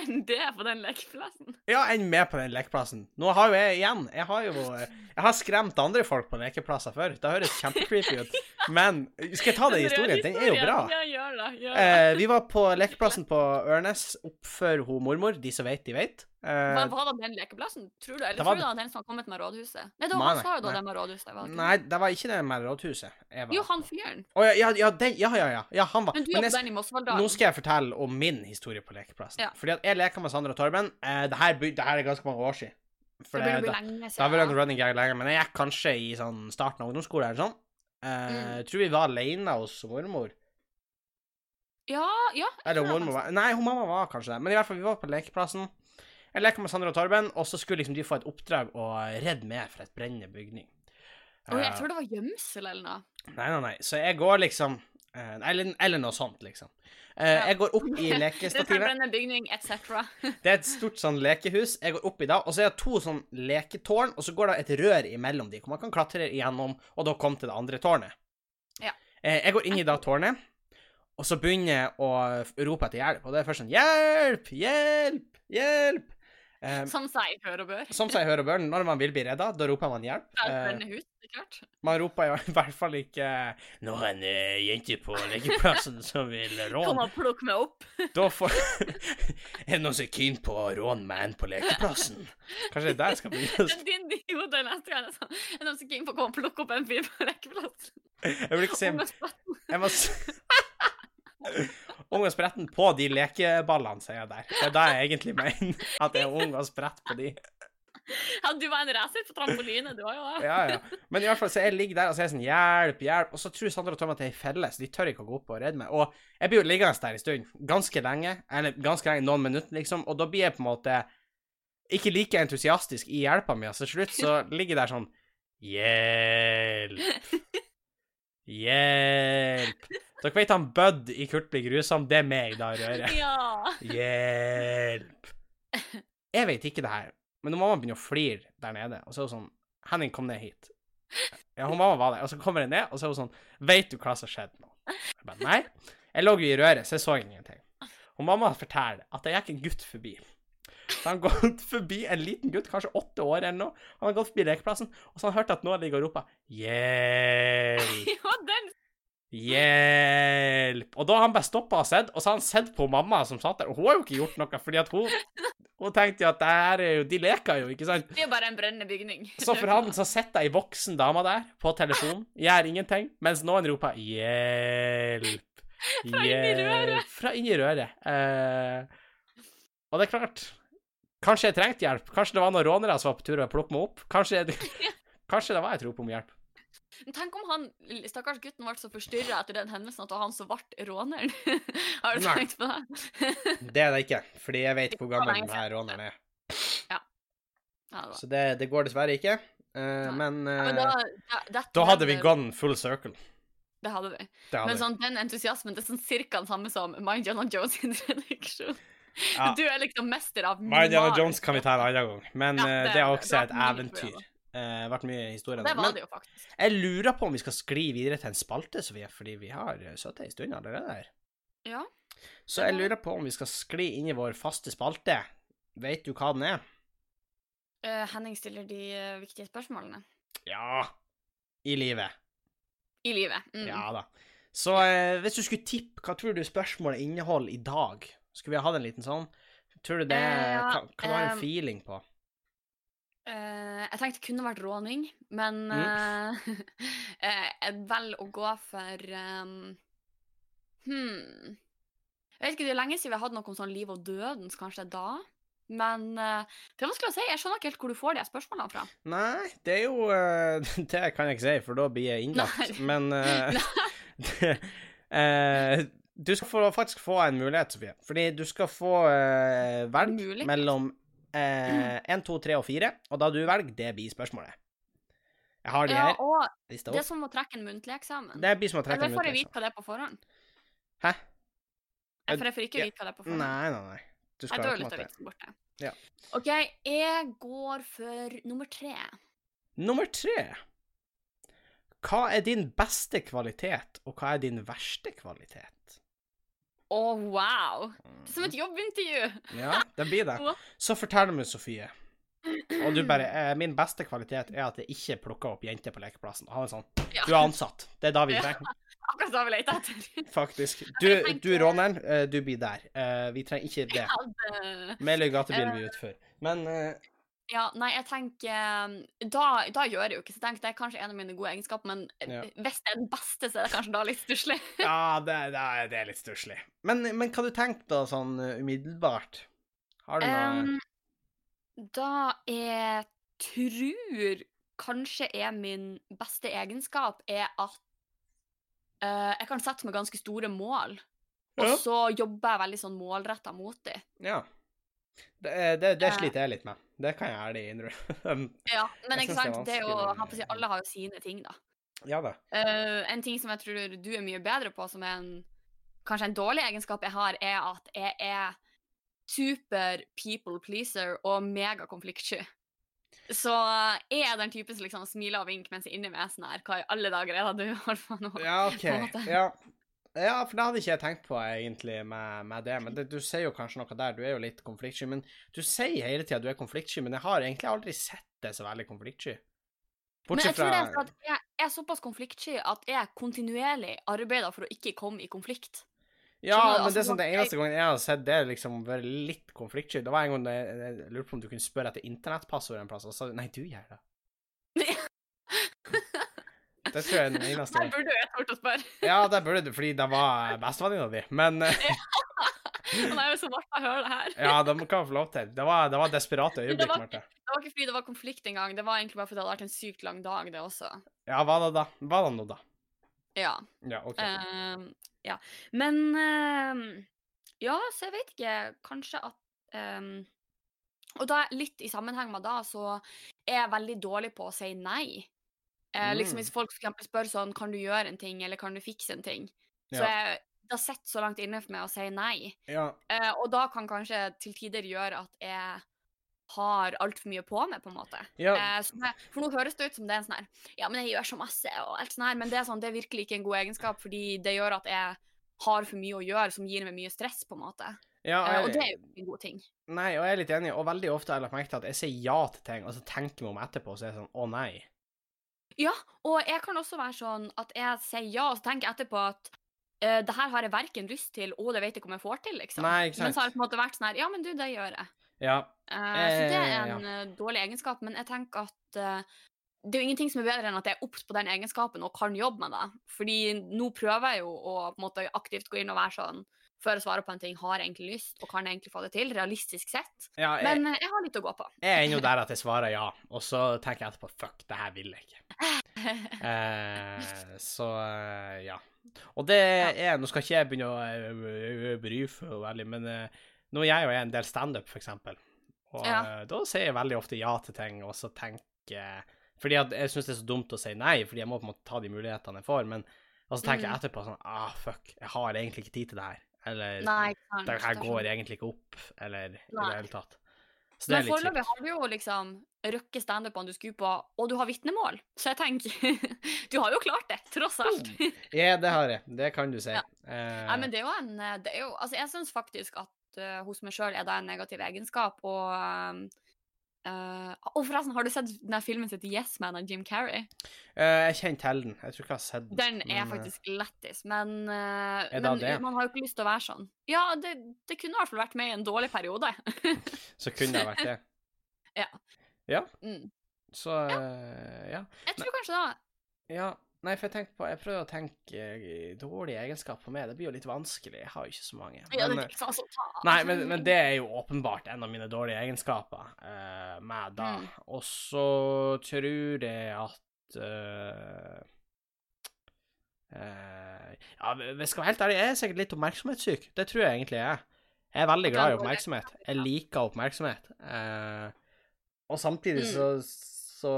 B: enn det på den lekeplassen.
A: Ja, enn med på den lekeplassen. Nå har jo jeg igjen Jeg har jo Jeg har skremt andre folk på lekeplasser før. Det høres kjempecreepy ut. Men skal jeg ta den historien? Den er jo bra.
B: Ja, gjør det. Gjør det.
A: Eh, vi var på lekeplassen på Ørnes oppfor hun mormor. De som vet, de vet. Eh,
B: Men var det den lekeplassen? Tror du, eller
A: det var
B: tror du det var den som kom ut med rådhuset? Nei, det
A: Nei,
B: var
A: nei,
B: han sa jo
A: nei.
B: da den var rådhuset. Var det ikke?
A: nei, det var ikke det med rådhuset. Jeg var.
B: Jo, han fyren.
A: Å, ja, ja, ja, den, ja, ja, ja, ja. Han var
B: Men du
A: Men
B: jobber
A: jeg
B: den i Mosvalldalen.
A: Nå skal jeg fortelle om min historie på lekeplassen.
B: Ja.
A: Fordi at jeg leker med Sandra og Torben. Eh, det, her, by- det her er ganske mange år siden. For
B: det begynner å
A: da-
B: bli lenge
A: Da var det en
B: siden.
A: running gag lenger, men jeg gikk kanskje i sånn starten av ungdomsskole eller sånn.
B: Mm.
A: Eh, Tror vi var alene hos mormor.
B: Ja, ja. jeg
A: Eller
B: tror det
A: mormor
B: faktisk.
A: var Nei, hun mamma var kanskje der. Men i hvert fall, vi var på lekeplassen. Jeg leker med Sandra og Torben, og så skulle liksom de få et oppdrag å redde meg fra et brennende bygning.
B: Oi, jeg
A: Eh,
B: tror det var gjemsel eller noe.
A: Nei, nei, nei. Så jeg går liksom eh, Eller, eller noe sånt, liksom. Eh,
B: Ja.
A: Jeg går opp i
B: Det
A: lekestativet.
B: brennende bygning, etc.
A: Det er et stort sånn lekehus. Jeg går oppi da, og så er det to sånn leketårn, og så går det et rør imellom de, hvor man kan klatre igjennom, og da komme til det andre tårnet.
B: Ja.
A: Eh, jeg går inn i da tårnet, og så begynner jeg å rope etter hjelp, og det er først sånn Hjelp! Hjelp! Hjelp! Eh, sånn
B: Som seg hør og bør.
A: som seg hør og bør, når man vil bli redda, da roper man hjelp.
B: Fra et
A: Eh,
B: brennende hus, det er klart.
A: man roper i hvert fall ikke 'Nå er det en eh, jente på lekeplassen som vil
B: Kom
A: råne'.
B: og plukk meg opp.
A: Da får Er det noen som er keen på å råne meg inn på lekeplassen? Kanskje det er der jeg skal
B: Det
A: begynne?
B: er din idiot neste gang. altså. Er det noen som keen på å komme og plukke opp en fyr på lekeplassen?
A: Jeg vil ikke si
B: Og med spett.
A: Jeg må s- Ung og spretten på de lekeballene, sier jeg der. Det er da jeg egentlig mener at jeg er ung og sprett på de.
B: Ja, du var en racer på trampoline, du var jo det.
A: Ja, ja. Men i hvert fall, så jeg ligger der og sier sånn Hjelp, hjelp. Og så tror Sandra og Tom at jeg er i felle, så de tør ikke å gå opp og redde meg. Og jeg blir jo liggende der en stund. Ganske lenge. Eller ganske lenge, noen minutter, liksom. Og da blir jeg på en måte ikke like entusiastisk i hjelpa mi, altså. Til slutt så ligger jeg der sånn Hjelp. Hjelp. Dere vet han Bud i Kurt blir grusom? Det er meg, da, Røre.
B: Ja.
A: Hjelp! Jeg vet ikke det her, men når mamma begynner å flire der nede, og så er hun sånn Henning, kom ned hit. Ja, hun mamma var der, og så kommer jeg ned, og så er hun sånn Veit du hva som skjedde nå? Jeg bare nei. Jeg lå jo i røret, så jeg så ingenting. Og mamma forteller at det gikk en gutt forbi. Så han gått forbi en liten gutt, kanskje åtte år eller noe. Han har gått forbi lekeplassen, og så har han hørt at noen ligger og roper 'hjelp'.
B: Jo, den
A: Hjelp! Og da har han bare stoppa og sett, og så har han sett på mamma som satt der, og hun har jo ikke gjort noe, fordi at hun Hun tenkte jo at det her er jo De leker jo, ikke sant?
B: det er bare en brennende bygning.
A: Så for han så sitter ei voksen dame der på telefonen, gjør ingenting, mens noen roper 'hjelp'.
B: Fra inni røret.
A: Fra inni røret. Eh, og det er klart Kanskje jeg trengte hjelp. Kanskje det var noen rånere som var på tur og plukke meg opp. Kanskje, kanskje det var et rop om hjelp.
B: Men tenk om han, stakkars gutten ble så forstyrra etter den hendelsen at det var han som ble råneren. Har du
A: Nei.
B: tenkt på det?
A: Det er det ikke, fordi jeg vet hvor
B: Det er
A: gammel
B: lenge
A: denne råneren er.
B: Ja, det var.
A: Så det, det går dessverre ikke. Eh,
B: Nei.
A: men
B: Ja,
A: eh,
B: men da, da, dette
A: da hadde vi
B: her-
A: gone full circle.
B: Det hadde vi.
A: Det hadde
B: Men
A: vi.
B: sånn, den entusiasmen det er sånn cirka den samme som Mind Jonah Jones' introduksjon.
A: Ja.
B: Du er liksom mester av
A: Mind Diana
B: minimal-
A: Jones kan vi ta en annen gang, men
B: Ja,
A: eh,
B: det-
A: det er
B: det
A: også
B: har
A: et
B: vært mye
A: eventyr.
B: historier,
A: Det har vært mye historier.
B: Det
A: der.
B: var
A: Men
B: det jo faktisk.
A: jeg lurer på om vi skal skli videre til en spalte, Sofie, fordi vi har eh, sittet en stund allerede her.
B: Ja.
A: Så jeg lurer på om vi skal skli inn i vår faste spalte. Vet du hva den er?
B: Eh, Henning stiller de eh, viktige spørsmålene.
A: Ja. I livet.
B: I livet. Mm.
A: Ja da. Så eh, hvis du skulle tippe, hva tror du spørsmålet inneholder i dag? Skulle vi hatt en liten sånn? Tror du det
B: Eh, ja,
A: kan, kan du ha en
B: eh,
A: feeling på?
B: Eh, jeg tenkte det kunne vært råning, men
A: Mm.
B: eh, eh, jeg velger å gå for ehm, hmm. Jeg vet ikke, Det er lenge siden vi har hatt noe om sånn liv og døden, så kanskje det er da. Men eh, det er vanskelig å si. Jeg skjønner ikke helt hvor du får de her spørsmålene fra.
A: Nei, det er jo eh, Det kan jeg ikke si, for da blir jeg innlagt.
B: Nei.
A: Men eh, det, eh, Du skal få, faktisk få en mulighet, Sofie. Fordi du skal få eh, velge
B: Mulighet? Mm.
A: mellom eh, 1, 2, 3 og 4. Og da du velger, det blir spørsmålet. Jeg har de
B: Ja,
A: her.
B: og
A: Lista
B: Det er
A: opp.
B: som å trekke en muntlig eksamen.
A: Det blir som å trekke
B: Eller
A: en
B: får jeg
A: mulighet.
B: vite hva det er på forhånd?
A: Hæ?
B: Jeg, for jeg får ikke
A: Ja.
B: vite hva det er på
A: Nei,
B: forhånd.
A: nei, nei. Du
B: jeg
A: skal
B: dør
A: på en
B: litt av
A: måte
B: vitsen borte.
A: Ja.
B: OK, jeg går for nummer tre.
A: Nummer tre. Hva er din beste kvalitet, og hva er din verste kvalitet?
B: Å, wow! Det er som et jobbintervju!
A: Ja, det blir det.
B: Hva?
A: Så fortell meg, Sofie. Og du bare eh, Min beste kvalitet er at jeg ikke plukker opp jenter på lekeplassen. Ha en sånn.
B: Ja.
A: Du er ansatt. Det er da vi
B: Ja.
A: trenger,
B: Akkurat det jeg ville lete etter.
A: faktisk. Du,
B: Jeg tenker-
A: du råneren, eh, du blir der. Eh, Vi trenger ikke det.
B: Hadde-
A: Meløy gatebil blir utfor. Men eh,
B: Eh, Ja, nei, jeg tenker ehm, Da, da gjør jeg jo ikke så jeg tenker det er kanskje en av mine gode egenskaper, men
A: Ja.
B: eh, hvis det er den beste, så er det kanskje da litt stusslig.
A: Ja, det, det, er- det er litt stusslig. Men, men hva du tenker da, sånn eh, umiddelbart? Har du noe
B: Em, Ehm, da jeg tror kanskje er min beste egenskap, er at eh, jeg kan sette meg ganske store mål. Og
A: Ja.
B: så jobber jeg veldig sånn målretta mot dem.
A: Ja. Det, eh, det, det
B: Eh.
A: sliter jeg litt med. Det kan jeg ærlig innrømme.
B: Ja, men
A: Jeg
B: ikke
A: synes det er
B: sant, det er jo,
A: vanskelig.
B: jeg holdt på å si, alle har jo sine ting, da.
A: ja da.
B: Eh, en ting som jeg tror du er mye bedre på, som er en, kanskje en dårlig egenskap jeg har, er at jeg er super people pleaser og mega konfliktsky. Så jeg er den typen som liksom smiler og vinker mens jeg inni meg er sånn her Hva i alle dager er det du holder på med nå?
A: Ja, OK.
B: på en måte.
A: Ja. ja, for det hadde ikke jeg tenkt på egentlig med, med det. Men det, du sier jo kanskje noe der. Du er jo litt konfliktsky. Men du sier hele tida du er konfliktsky, men jeg har egentlig aldri sett deg så veldig konfliktsky.
B: Men jeg
A: Bortsett fra
B: tror det er for at jeg jeg er såpass konfliktsky at jeg kontinuerlig arbeider for å ikke komme i konflikt.
A: Ja,
B: skjønner du,
A: men det
B: altså,
A: er sånn, den
B: jeg-
A: eneste gangen jeg har sett det, liksom være litt konfliktsky, det var en gang da jeg, jeg lurte på om du kunne spørre etter internettpassord en plass, og så sa du, nei, du gjør det. Det tror jeg er den eneste
B: Der
A: gangen.
B: burde jo jeg tort å spørre.
A: Ja, det burde du, fordi det var bestevenninna di. Men eh,
B: Han er jo så Martha hører det her.
A: ja, det kan jeg få lov til. Det var, det var desperate
B: Men det
A: øyeblikk,
B: var-
A: Marte.
B: Det var ikke fordi det var konflikt engang, det var egentlig bare fordi det hadde vært en sykt lang dag, det også.
A: Ja, hva da, da? Hva da nå, da?
B: Ja.
A: Ja, OK.
B: ehm, ja. Men ehm, Ja, så jeg vet ikke. Kanskje at ehm, Og da litt i sammenheng med da, så er jeg veldig dårlig på å si nei. Eh, liksom
A: Mm.
B: Hvis folk for eksempel spør sånn Kan du gjøre en ting, eller kan du fikse en ting? Så
A: Ja.
B: jeg, det sitter så langt inne for meg å si nei.
A: Ja,
B: Eh, og da kan kanskje til tider gjøre at jeg har altfor mye på meg, på en måte.
A: ja,
B: Eh, så det- for nå høres det ut som det er en sånn her Ja, men jeg gjør så masse og alt sånn her. Men det er, sånn, det er virkelig ikke en god egenskap, fordi det gjør at jeg har for mye å gjøre som gir meg mye stress, på en måte.
A: ja
B: Eh, og
A: jeg-
B: det er jo ikke en god ting.
A: Nei, og jeg er litt enig, og veldig ofte har jeg lagt merke til at jeg sier ja til ting, og så tenker jeg meg om etterpå, og så er jeg sånn å nei.
B: Ja, og jeg kan også være sånn at jeg sier ja, og så tenker jeg etterpå at eh, det her har jeg verken lyst til, og det vet jeg ikke om jeg får til, liksom.
A: Nei, ikke
B: Men så har
A: sant.
B: det på en måte vært sånn her Ja, men du, det gjør jeg.
A: Ja,
B: Eh, så det er
A: Eh, ja.
B: en eh, dårlig egenskap, men jeg tenker at eh, det er jo ingenting som er bedre enn at jeg er obs på den egenskapen og kan jobbe med det. Fordi nå prøver jeg jo å på en måte aktivt gå inn og være sånn for å svare på en ting. Har jeg egentlig lyst, og kan jeg egentlig få det til, realistisk sett?
A: Ja, jeg,
B: Men eh, jeg har litt å gå på.
A: jeg er ennå der at jeg svarer ja, og så tenker jeg etterpå fuck, det her vil jeg ikke. Eh, så eh, ja. Og det er Nå skal ikke jeg begynne å eh, brife og veldig, men eh, nå er jeg jo en del standup, for eksempel. Og
B: Ja.
A: eh, da sier jeg veldig ofte ja til ting, og så tenker jeg Fordi at jeg syns det er så dumt å si nei, fordi jeg må på en måte ta de mulighetene jeg får, men og så tenker
B: Mm.
A: jeg etterpå sånn Ah, fuck, jeg har egentlig ikke tid til det her. Eller
B: Nei, ikke sant.
A: det her
B: er
A: går
B: sånn.
A: egentlig ikke opp, eller i
B: Nei.
A: det hele tatt. Så det
B: Men
A: er litt
B: foreløpig
A: kjipt.
B: har du jo liksom røkket standupene du skulle på, og du har vitnemål. Så jeg tenker Du har jo klart det, tross alt.
A: Mm. Ja, det har jeg. Det kan du si.
B: Ja.
A: Eh,
B: Nei, men det er jo en eh, det er jo, altså Jeg syns faktisk at eh, hos meg sjøl er det en negativ egenskap, og eh, eh, Og forresten, har du sett den filmen som heter Yes Man av Jim Carrey?
A: eh, jeg kjenner til den. Jeg tror ikke jeg har sett den.
B: Den
A: men,
B: er
A: eh,
B: faktisk lættis, men, eh,
A: Er da
B: men
A: det?
B: man har jo ikke lyst til å være sånn. Ja, det, det kunne i hvert fall vært med i en dårlig periode.
A: Så kunne det vært det.
B: Ja.
A: Ja,
B: Mm.
A: så eh, ja.
B: Jeg tror kanskje da
A: ja. Nei, for jeg tenker på Jeg prøver å tenke eh, dårlige egenskaper på meg. Det blir jo litt vanskelig. Jeg har jo ikke så mange.
B: ja,
A: Men,
B: det,
A: eh,
B: ikke sant, altså, ta-
A: Nei, men, men det er jo åpenbart en av mine dårlige egenskaper eh, med da.
B: Mm.
A: Og så tror jeg at eh, eh, Ja, hvis jeg skal være helt ærlig, jeg er sikkert litt oppmerksomhetssyk. Det tror jeg egentlig jeg er. Jeg er veldig
B: At
A: glad
B: du
A: i
B: er dårlig.
A: oppmerksomhet. Jeg liker oppmerksomhet. Eh, og samtidig
B: Mm.
A: så, så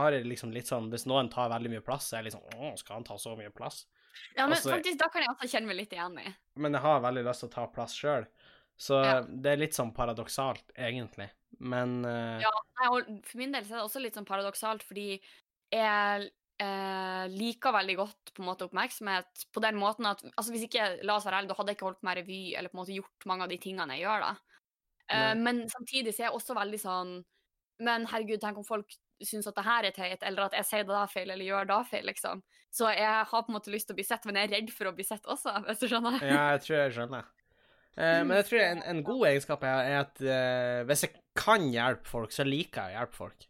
A: har jeg liksom litt sånn Hvis noen tar veldig mye plass, så er jeg liksom Å, skal han ta så mye plass?
B: Ja, men
A: altså-
B: faktisk, da kan jeg også kjenne meg litt igjen i.
A: men jeg har veldig lyst til å ta plass sjøl. Så
B: Ja.
A: det er litt sånn paradoksalt, egentlig. Men eh,
B: Ja. Nei, og for min del så er det også litt sånn paradoksalt, fordi jeg eh, liker veldig godt på en måte oppmerksomhet på den måten at altså Hvis ikke, la oss være ærlige, da hadde jeg ikke holdt på med revy eller på en måte gjort mange av de tingene jeg gjør, da.
A: Nei.
B: Eh, men samtidig så er jeg også veldig sånn Men herregud, tenk om folk syns at det her er teit, eller at jeg sier det da feil, eller gjør da feil, liksom. Så jeg har på en måte lyst til å bli sett, men jeg er redd for å bli sett også, hvis du skjønner.
A: ja, jeg tror jeg skjønner. Eh,
B: Mm.
A: men jeg tror en, en god egenskap jeg har, er at eh, hvis jeg kan hjelpe folk, så liker jeg å hjelpe folk.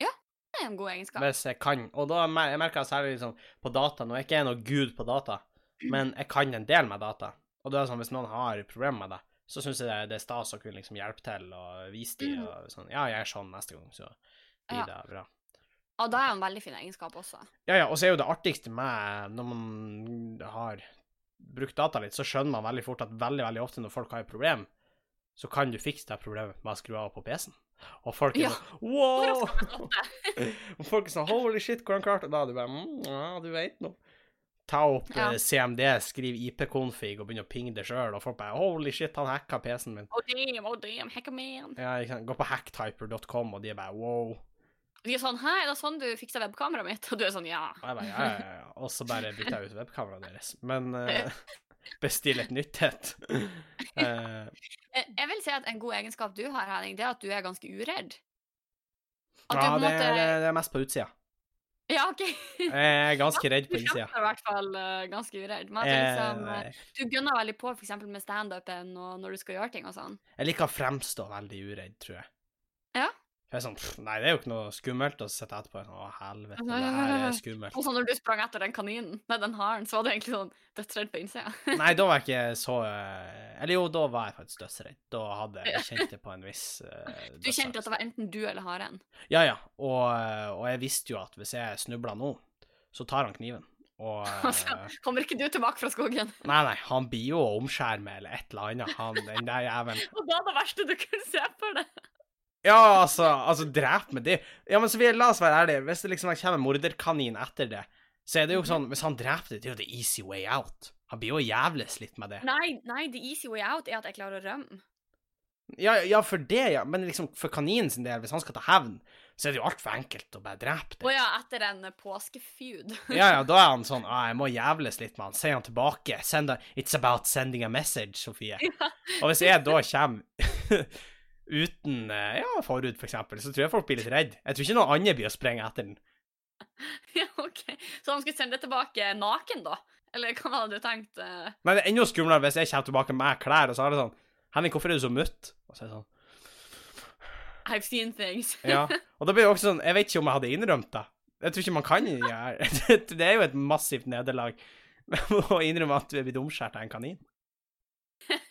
B: Det er en god egenskap.
A: Hvis jeg kan. Og da mer, jeg merker jeg særlig liksom, på data, når jeg ikke er noe gud på data, men jeg kan en del med data. Og da er det sånn, hvis noen har problemer med det, så syns jeg det, det er stas å kunne liksom hjelpe til og vise dem.
B: Mm.
A: Og sånn, ja, jeg er sånn neste gang, så blir
B: Ja.
A: det bra.
B: Og da er jo en veldig fin egenskap også.
A: Ja, ja, og så er jo det artigste med når man har brukt data litt, så skjønner man veldig fort at veldig, veldig ofte når folk har et problem, så kan du fikse det problemet med å skru av på PC-en. Og folk er
B: Ja.
A: sånn
B: Oh,
A: wow! og folk er sånn holy shit, hvordan klarte du det? Og du bare mm, ja, du veit nå. Ta opp
B: Ja.
A: eh, CMD, skriv IP-config og begynne å pinge det sjøl, og folk bare holy shit, han hacka PC-en min.
B: Oh damn, oh damn, heck man.
A: Ja, ikke sant? Gå på hacktyper.com, og de er bare wow.
B: De er sånn 'Hæ, er det sånn du fiksa webkameraet mitt?' Og du er sånn 'Ja'.
A: Og jeg bare, ja, ja, ja, ja. Og så bare bytta jeg ut webkameraet deres. Men eh, bestill et nytt et. Eh,
B: Eh, Jeg vil si at en god egenskap du har, Henning, det er at du er ganske uredd. At
A: ja,
B: du på en
A: det,
B: måte
A: det, det er mest på utsida.
B: Ja, OK.
A: Jeg er ganske redd på
B: Du
A: innsida.
B: kjemper i hvert fall eh, ganske uredd. Men at du, liksom, eh,
A: Jeg,
B: du gunner veldig på f.eks. med standupen og når du skal gjøre ting og sånn.
A: jeg liker å fremstå veldig uredd, tror jeg.
B: Ja.
A: Jeg er sånn, pff, nei, det er jo ikke noe skummelt å sitte etterpå. og sånn, Å, helvete, det her er skummelt.
B: Og så når du sprang etter den kaninen, nei, den haren, så var du egentlig sånn dødsredd på innsida.
A: Nei, da var jeg ikke så eh, Eller jo, da var jeg faktisk dødsredd. Da hadde jeg jeg kjent det på en viss eh,
B: Du
A: dødsangst.
B: kjente at det var enten du eller haren.
A: Ja, ja. Og, eh, og jeg visste jo at hvis jeg snubla nå, så tar han kniven. Og
B: Altså,
A: eh,
B: kommer ikke du tilbake fra skogen?
A: Nei, nei, han blir jo å omskjærme eller et eller annet, han den der jævelen.
B: Og da er det verste du kunne se for deg.
A: Ja, altså, altså, drep med det. Ja, men så vi, la oss være ærlige. Hvis det liksom kommer en morderkanin etter det, så er det jo sånn Hvis han dreper det, det er jo the easy way out. Han blir jo å jævles litt med det.
B: Nei, nei, the easy way out er at jeg klarer å rømme.
A: Ja, ja, for det, ja. Men liksom, for kaninen sin del, hvis han skal ta hevn, så er det jo altfor enkelt å bare drepe
B: Å
A: det.
B: ja, etter en eh, påskefeud.
A: Ja, ja, da er han sånn ah, 'Jeg må jævles litt med han. Send han tilbake. Send han, it's about sending a message, Sofie.
B: Ja.
A: Og hvis jeg da kommer uten eh, ja, forhud, for eksempel, så tror jeg folk blir litt redd. Jeg tror ikke noen andre blir å sprenge etter den.
B: ja, ok. Så han skulle sende det tilbake naken, da? Eller hva hadde du tenkt? eh?
A: Men det er enda skumlere hvis jeg kommer tilbake med klær, og så er det sånn Henning, hvorfor er du så mutt? Og så er det sånn
B: I've seen things.
A: Ja. Og da blir det også sånn Jeg vet ikke om jeg hadde innrømt det. Jeg tror ikke man kan gjøre Det er jo et massivt nederlag å innrømme at du er blitt omskåret av en kanin.
B: Jeg,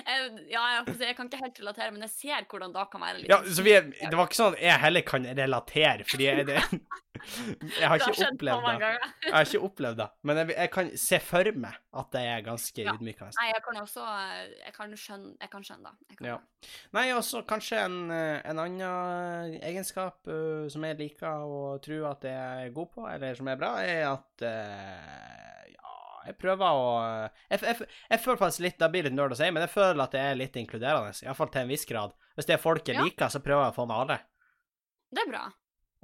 B: Eh, ja, jeg, holdt på å si, jeg kan ikke helt relatere, men jeg ser hvordan da kan være litt
A: Ja, så vi, det var ikke sånn at jeg heller kan relatere, fordi jeg, det, jeg har ikke opplevd det.
B: ganger.
A: Jeg har ikke opplevd det, men jeg, jeg kan se for meg at det er ganske
B: Ja.
A: ydmykende.
B: Nei, jeg kan også eh, Jeg kan skjønne, jeg kan skjønne det. Jeg kan
A: Ja.
B: det.
A: Nei, og så kanskje en, eh, en annen egenskap eh, som jeg liker å tro at jeg er god på, eller som er bra, er at eh, ja, jeg prøver å jeg, jeg, jeg føler faktisk litt, det blir litt nerd å si, men jeg føler at jeg er litt inkluderende, iallfall til en viss grad. Hvis det er folk jeg
B: Ja.
A: liker, så prøver jeg å få med alle.
B: det er bra.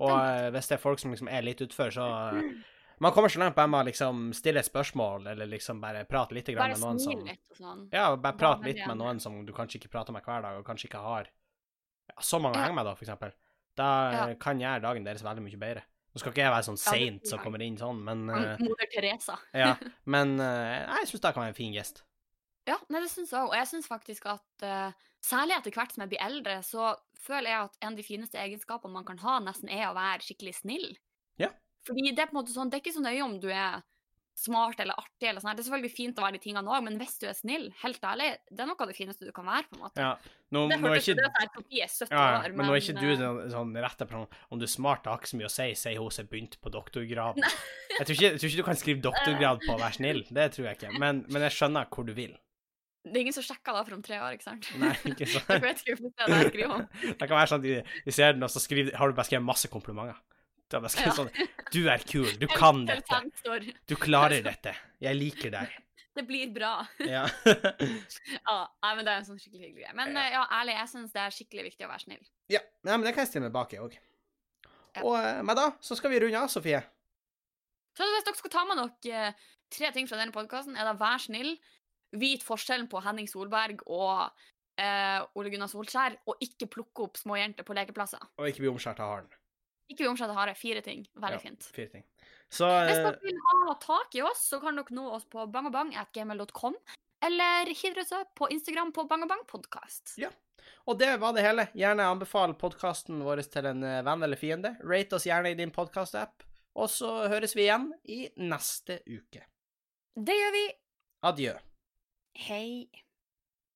A: Og
B: Den
A: eh, hvis det er folk som liksom er litt utfor, så eh, Man kommer så langt bare med å liksom stille et spørsmål, eller liksom bare prate litt grann
B: Bare
A: med noen
B: smil
A: som
B: litt og sånn.
A: Ja, bare
B: Bare
A: prate
B: med
A: litt
B: de
A: med
B: andre.
A: noen som du kanskje ikke prater med hver dag, og kanskje ikke har ja, så mange å
B: Ja.
A: henge med, da, for eksempel. Da
B: Ja.
A: eh, kan gjøre dagen deres veldig mye bedre. Nå skal ikke jeg være sånn
B: Ja, det Mm.
A: seint
B: tror
A: som
B: jeg.
A: kommer inn sånn, men eh,
B: Moder Teresa.
A: Ja. Men eh, jeg syns det kan være en fin gest.
B: Ja, nei, det syns jeg òg. Og jeg syns faktisk at eh, særlig etter hvert som jeg blir eldre, så føler jeg at en av de fineste egenskapene man kan ha, nesten er å være skikkelig snill.
A: Ja.
B: Fordi det er på en måte sånn, det er ikke så nøye om du er smart eller artig eller sånn. her. Det er selvfølgelig fint å være de tingene òg, men hvis du er snill, helt ærlig, det er noe av det fineste du kan være, på en måte.
A: Ja. Nå,
B: Det
A: nå er
B: hørtes
A: ikke
B: ut som Sofie er 70
A: ja, ja,
B: år,
A: men nå er ikke du
B: eh,
A: den sånn rette person. Om du er smart, det har ikke så mye å si, sier hun som begynte på doktorgraden. Jeg tror, ikke, jeg tror ikke du kan skrive doktorgrad på å være snill, det tror jeg ikke. Men, men jeg skjønner hvor du vil.
B: Det er ingen som sjekker det for om tre år, ikke sant?
A: Nei, ikke
B: Dere
A: sant?
B: vet ikke hvor mye jeg skriver om.
A: Det kan være sånn at de, de ser den, og så skriver, har du bare skrevet masse komplimenter. Du har bare skrevet sånn Du er kul, du kan
B: Til
A: dette,
B: fem står,
A: du klarer dette, jeg liker deg.
B: Det blir bra.
A: Ja.
B: Ja, nei, men det er en sånn skikkelig hyggelig greie. Men
A: Ja.
B: eh, ja, ærlig, jeg syns det er skikkelig viktig å være snill.
A: ja. Nei, men det kan jeg stille meg bak i òg.
B: Ja.
A: Og eh, men da så skal vi runde av, Sofie.
B: Så hvis dere skulle ta med dere eh, tre ting fra denne podkasten, er det vær snill, vit forskjellen på Henning Solberg og eh, Ole Gunnar Solskjær, og ikke plukke opp små jenter på lekeplasser.
A: Og ikke bli omskåret av haren.
B: Ikke bli omskjedd av hare. Fire ting. Veldig
A: Ja.
B: fint.
A: Fire ting. Så
B: Hvis
A: eh,
B: dere vil ha tak i oss, så kan dere nå oss på bangabang.gmail.com, eller hiv dere oss på Instagram på bangabangbangpodkast.
A: Ja. Og det var det hele. Gjerne anbefal podkasten vår til en eh, venn eller fiende. Rate oss gjerne i din podkast-app. Og så høres vi igjen i neste uke.
B: Det gjør vi.
A: Adjø.
B: Hei.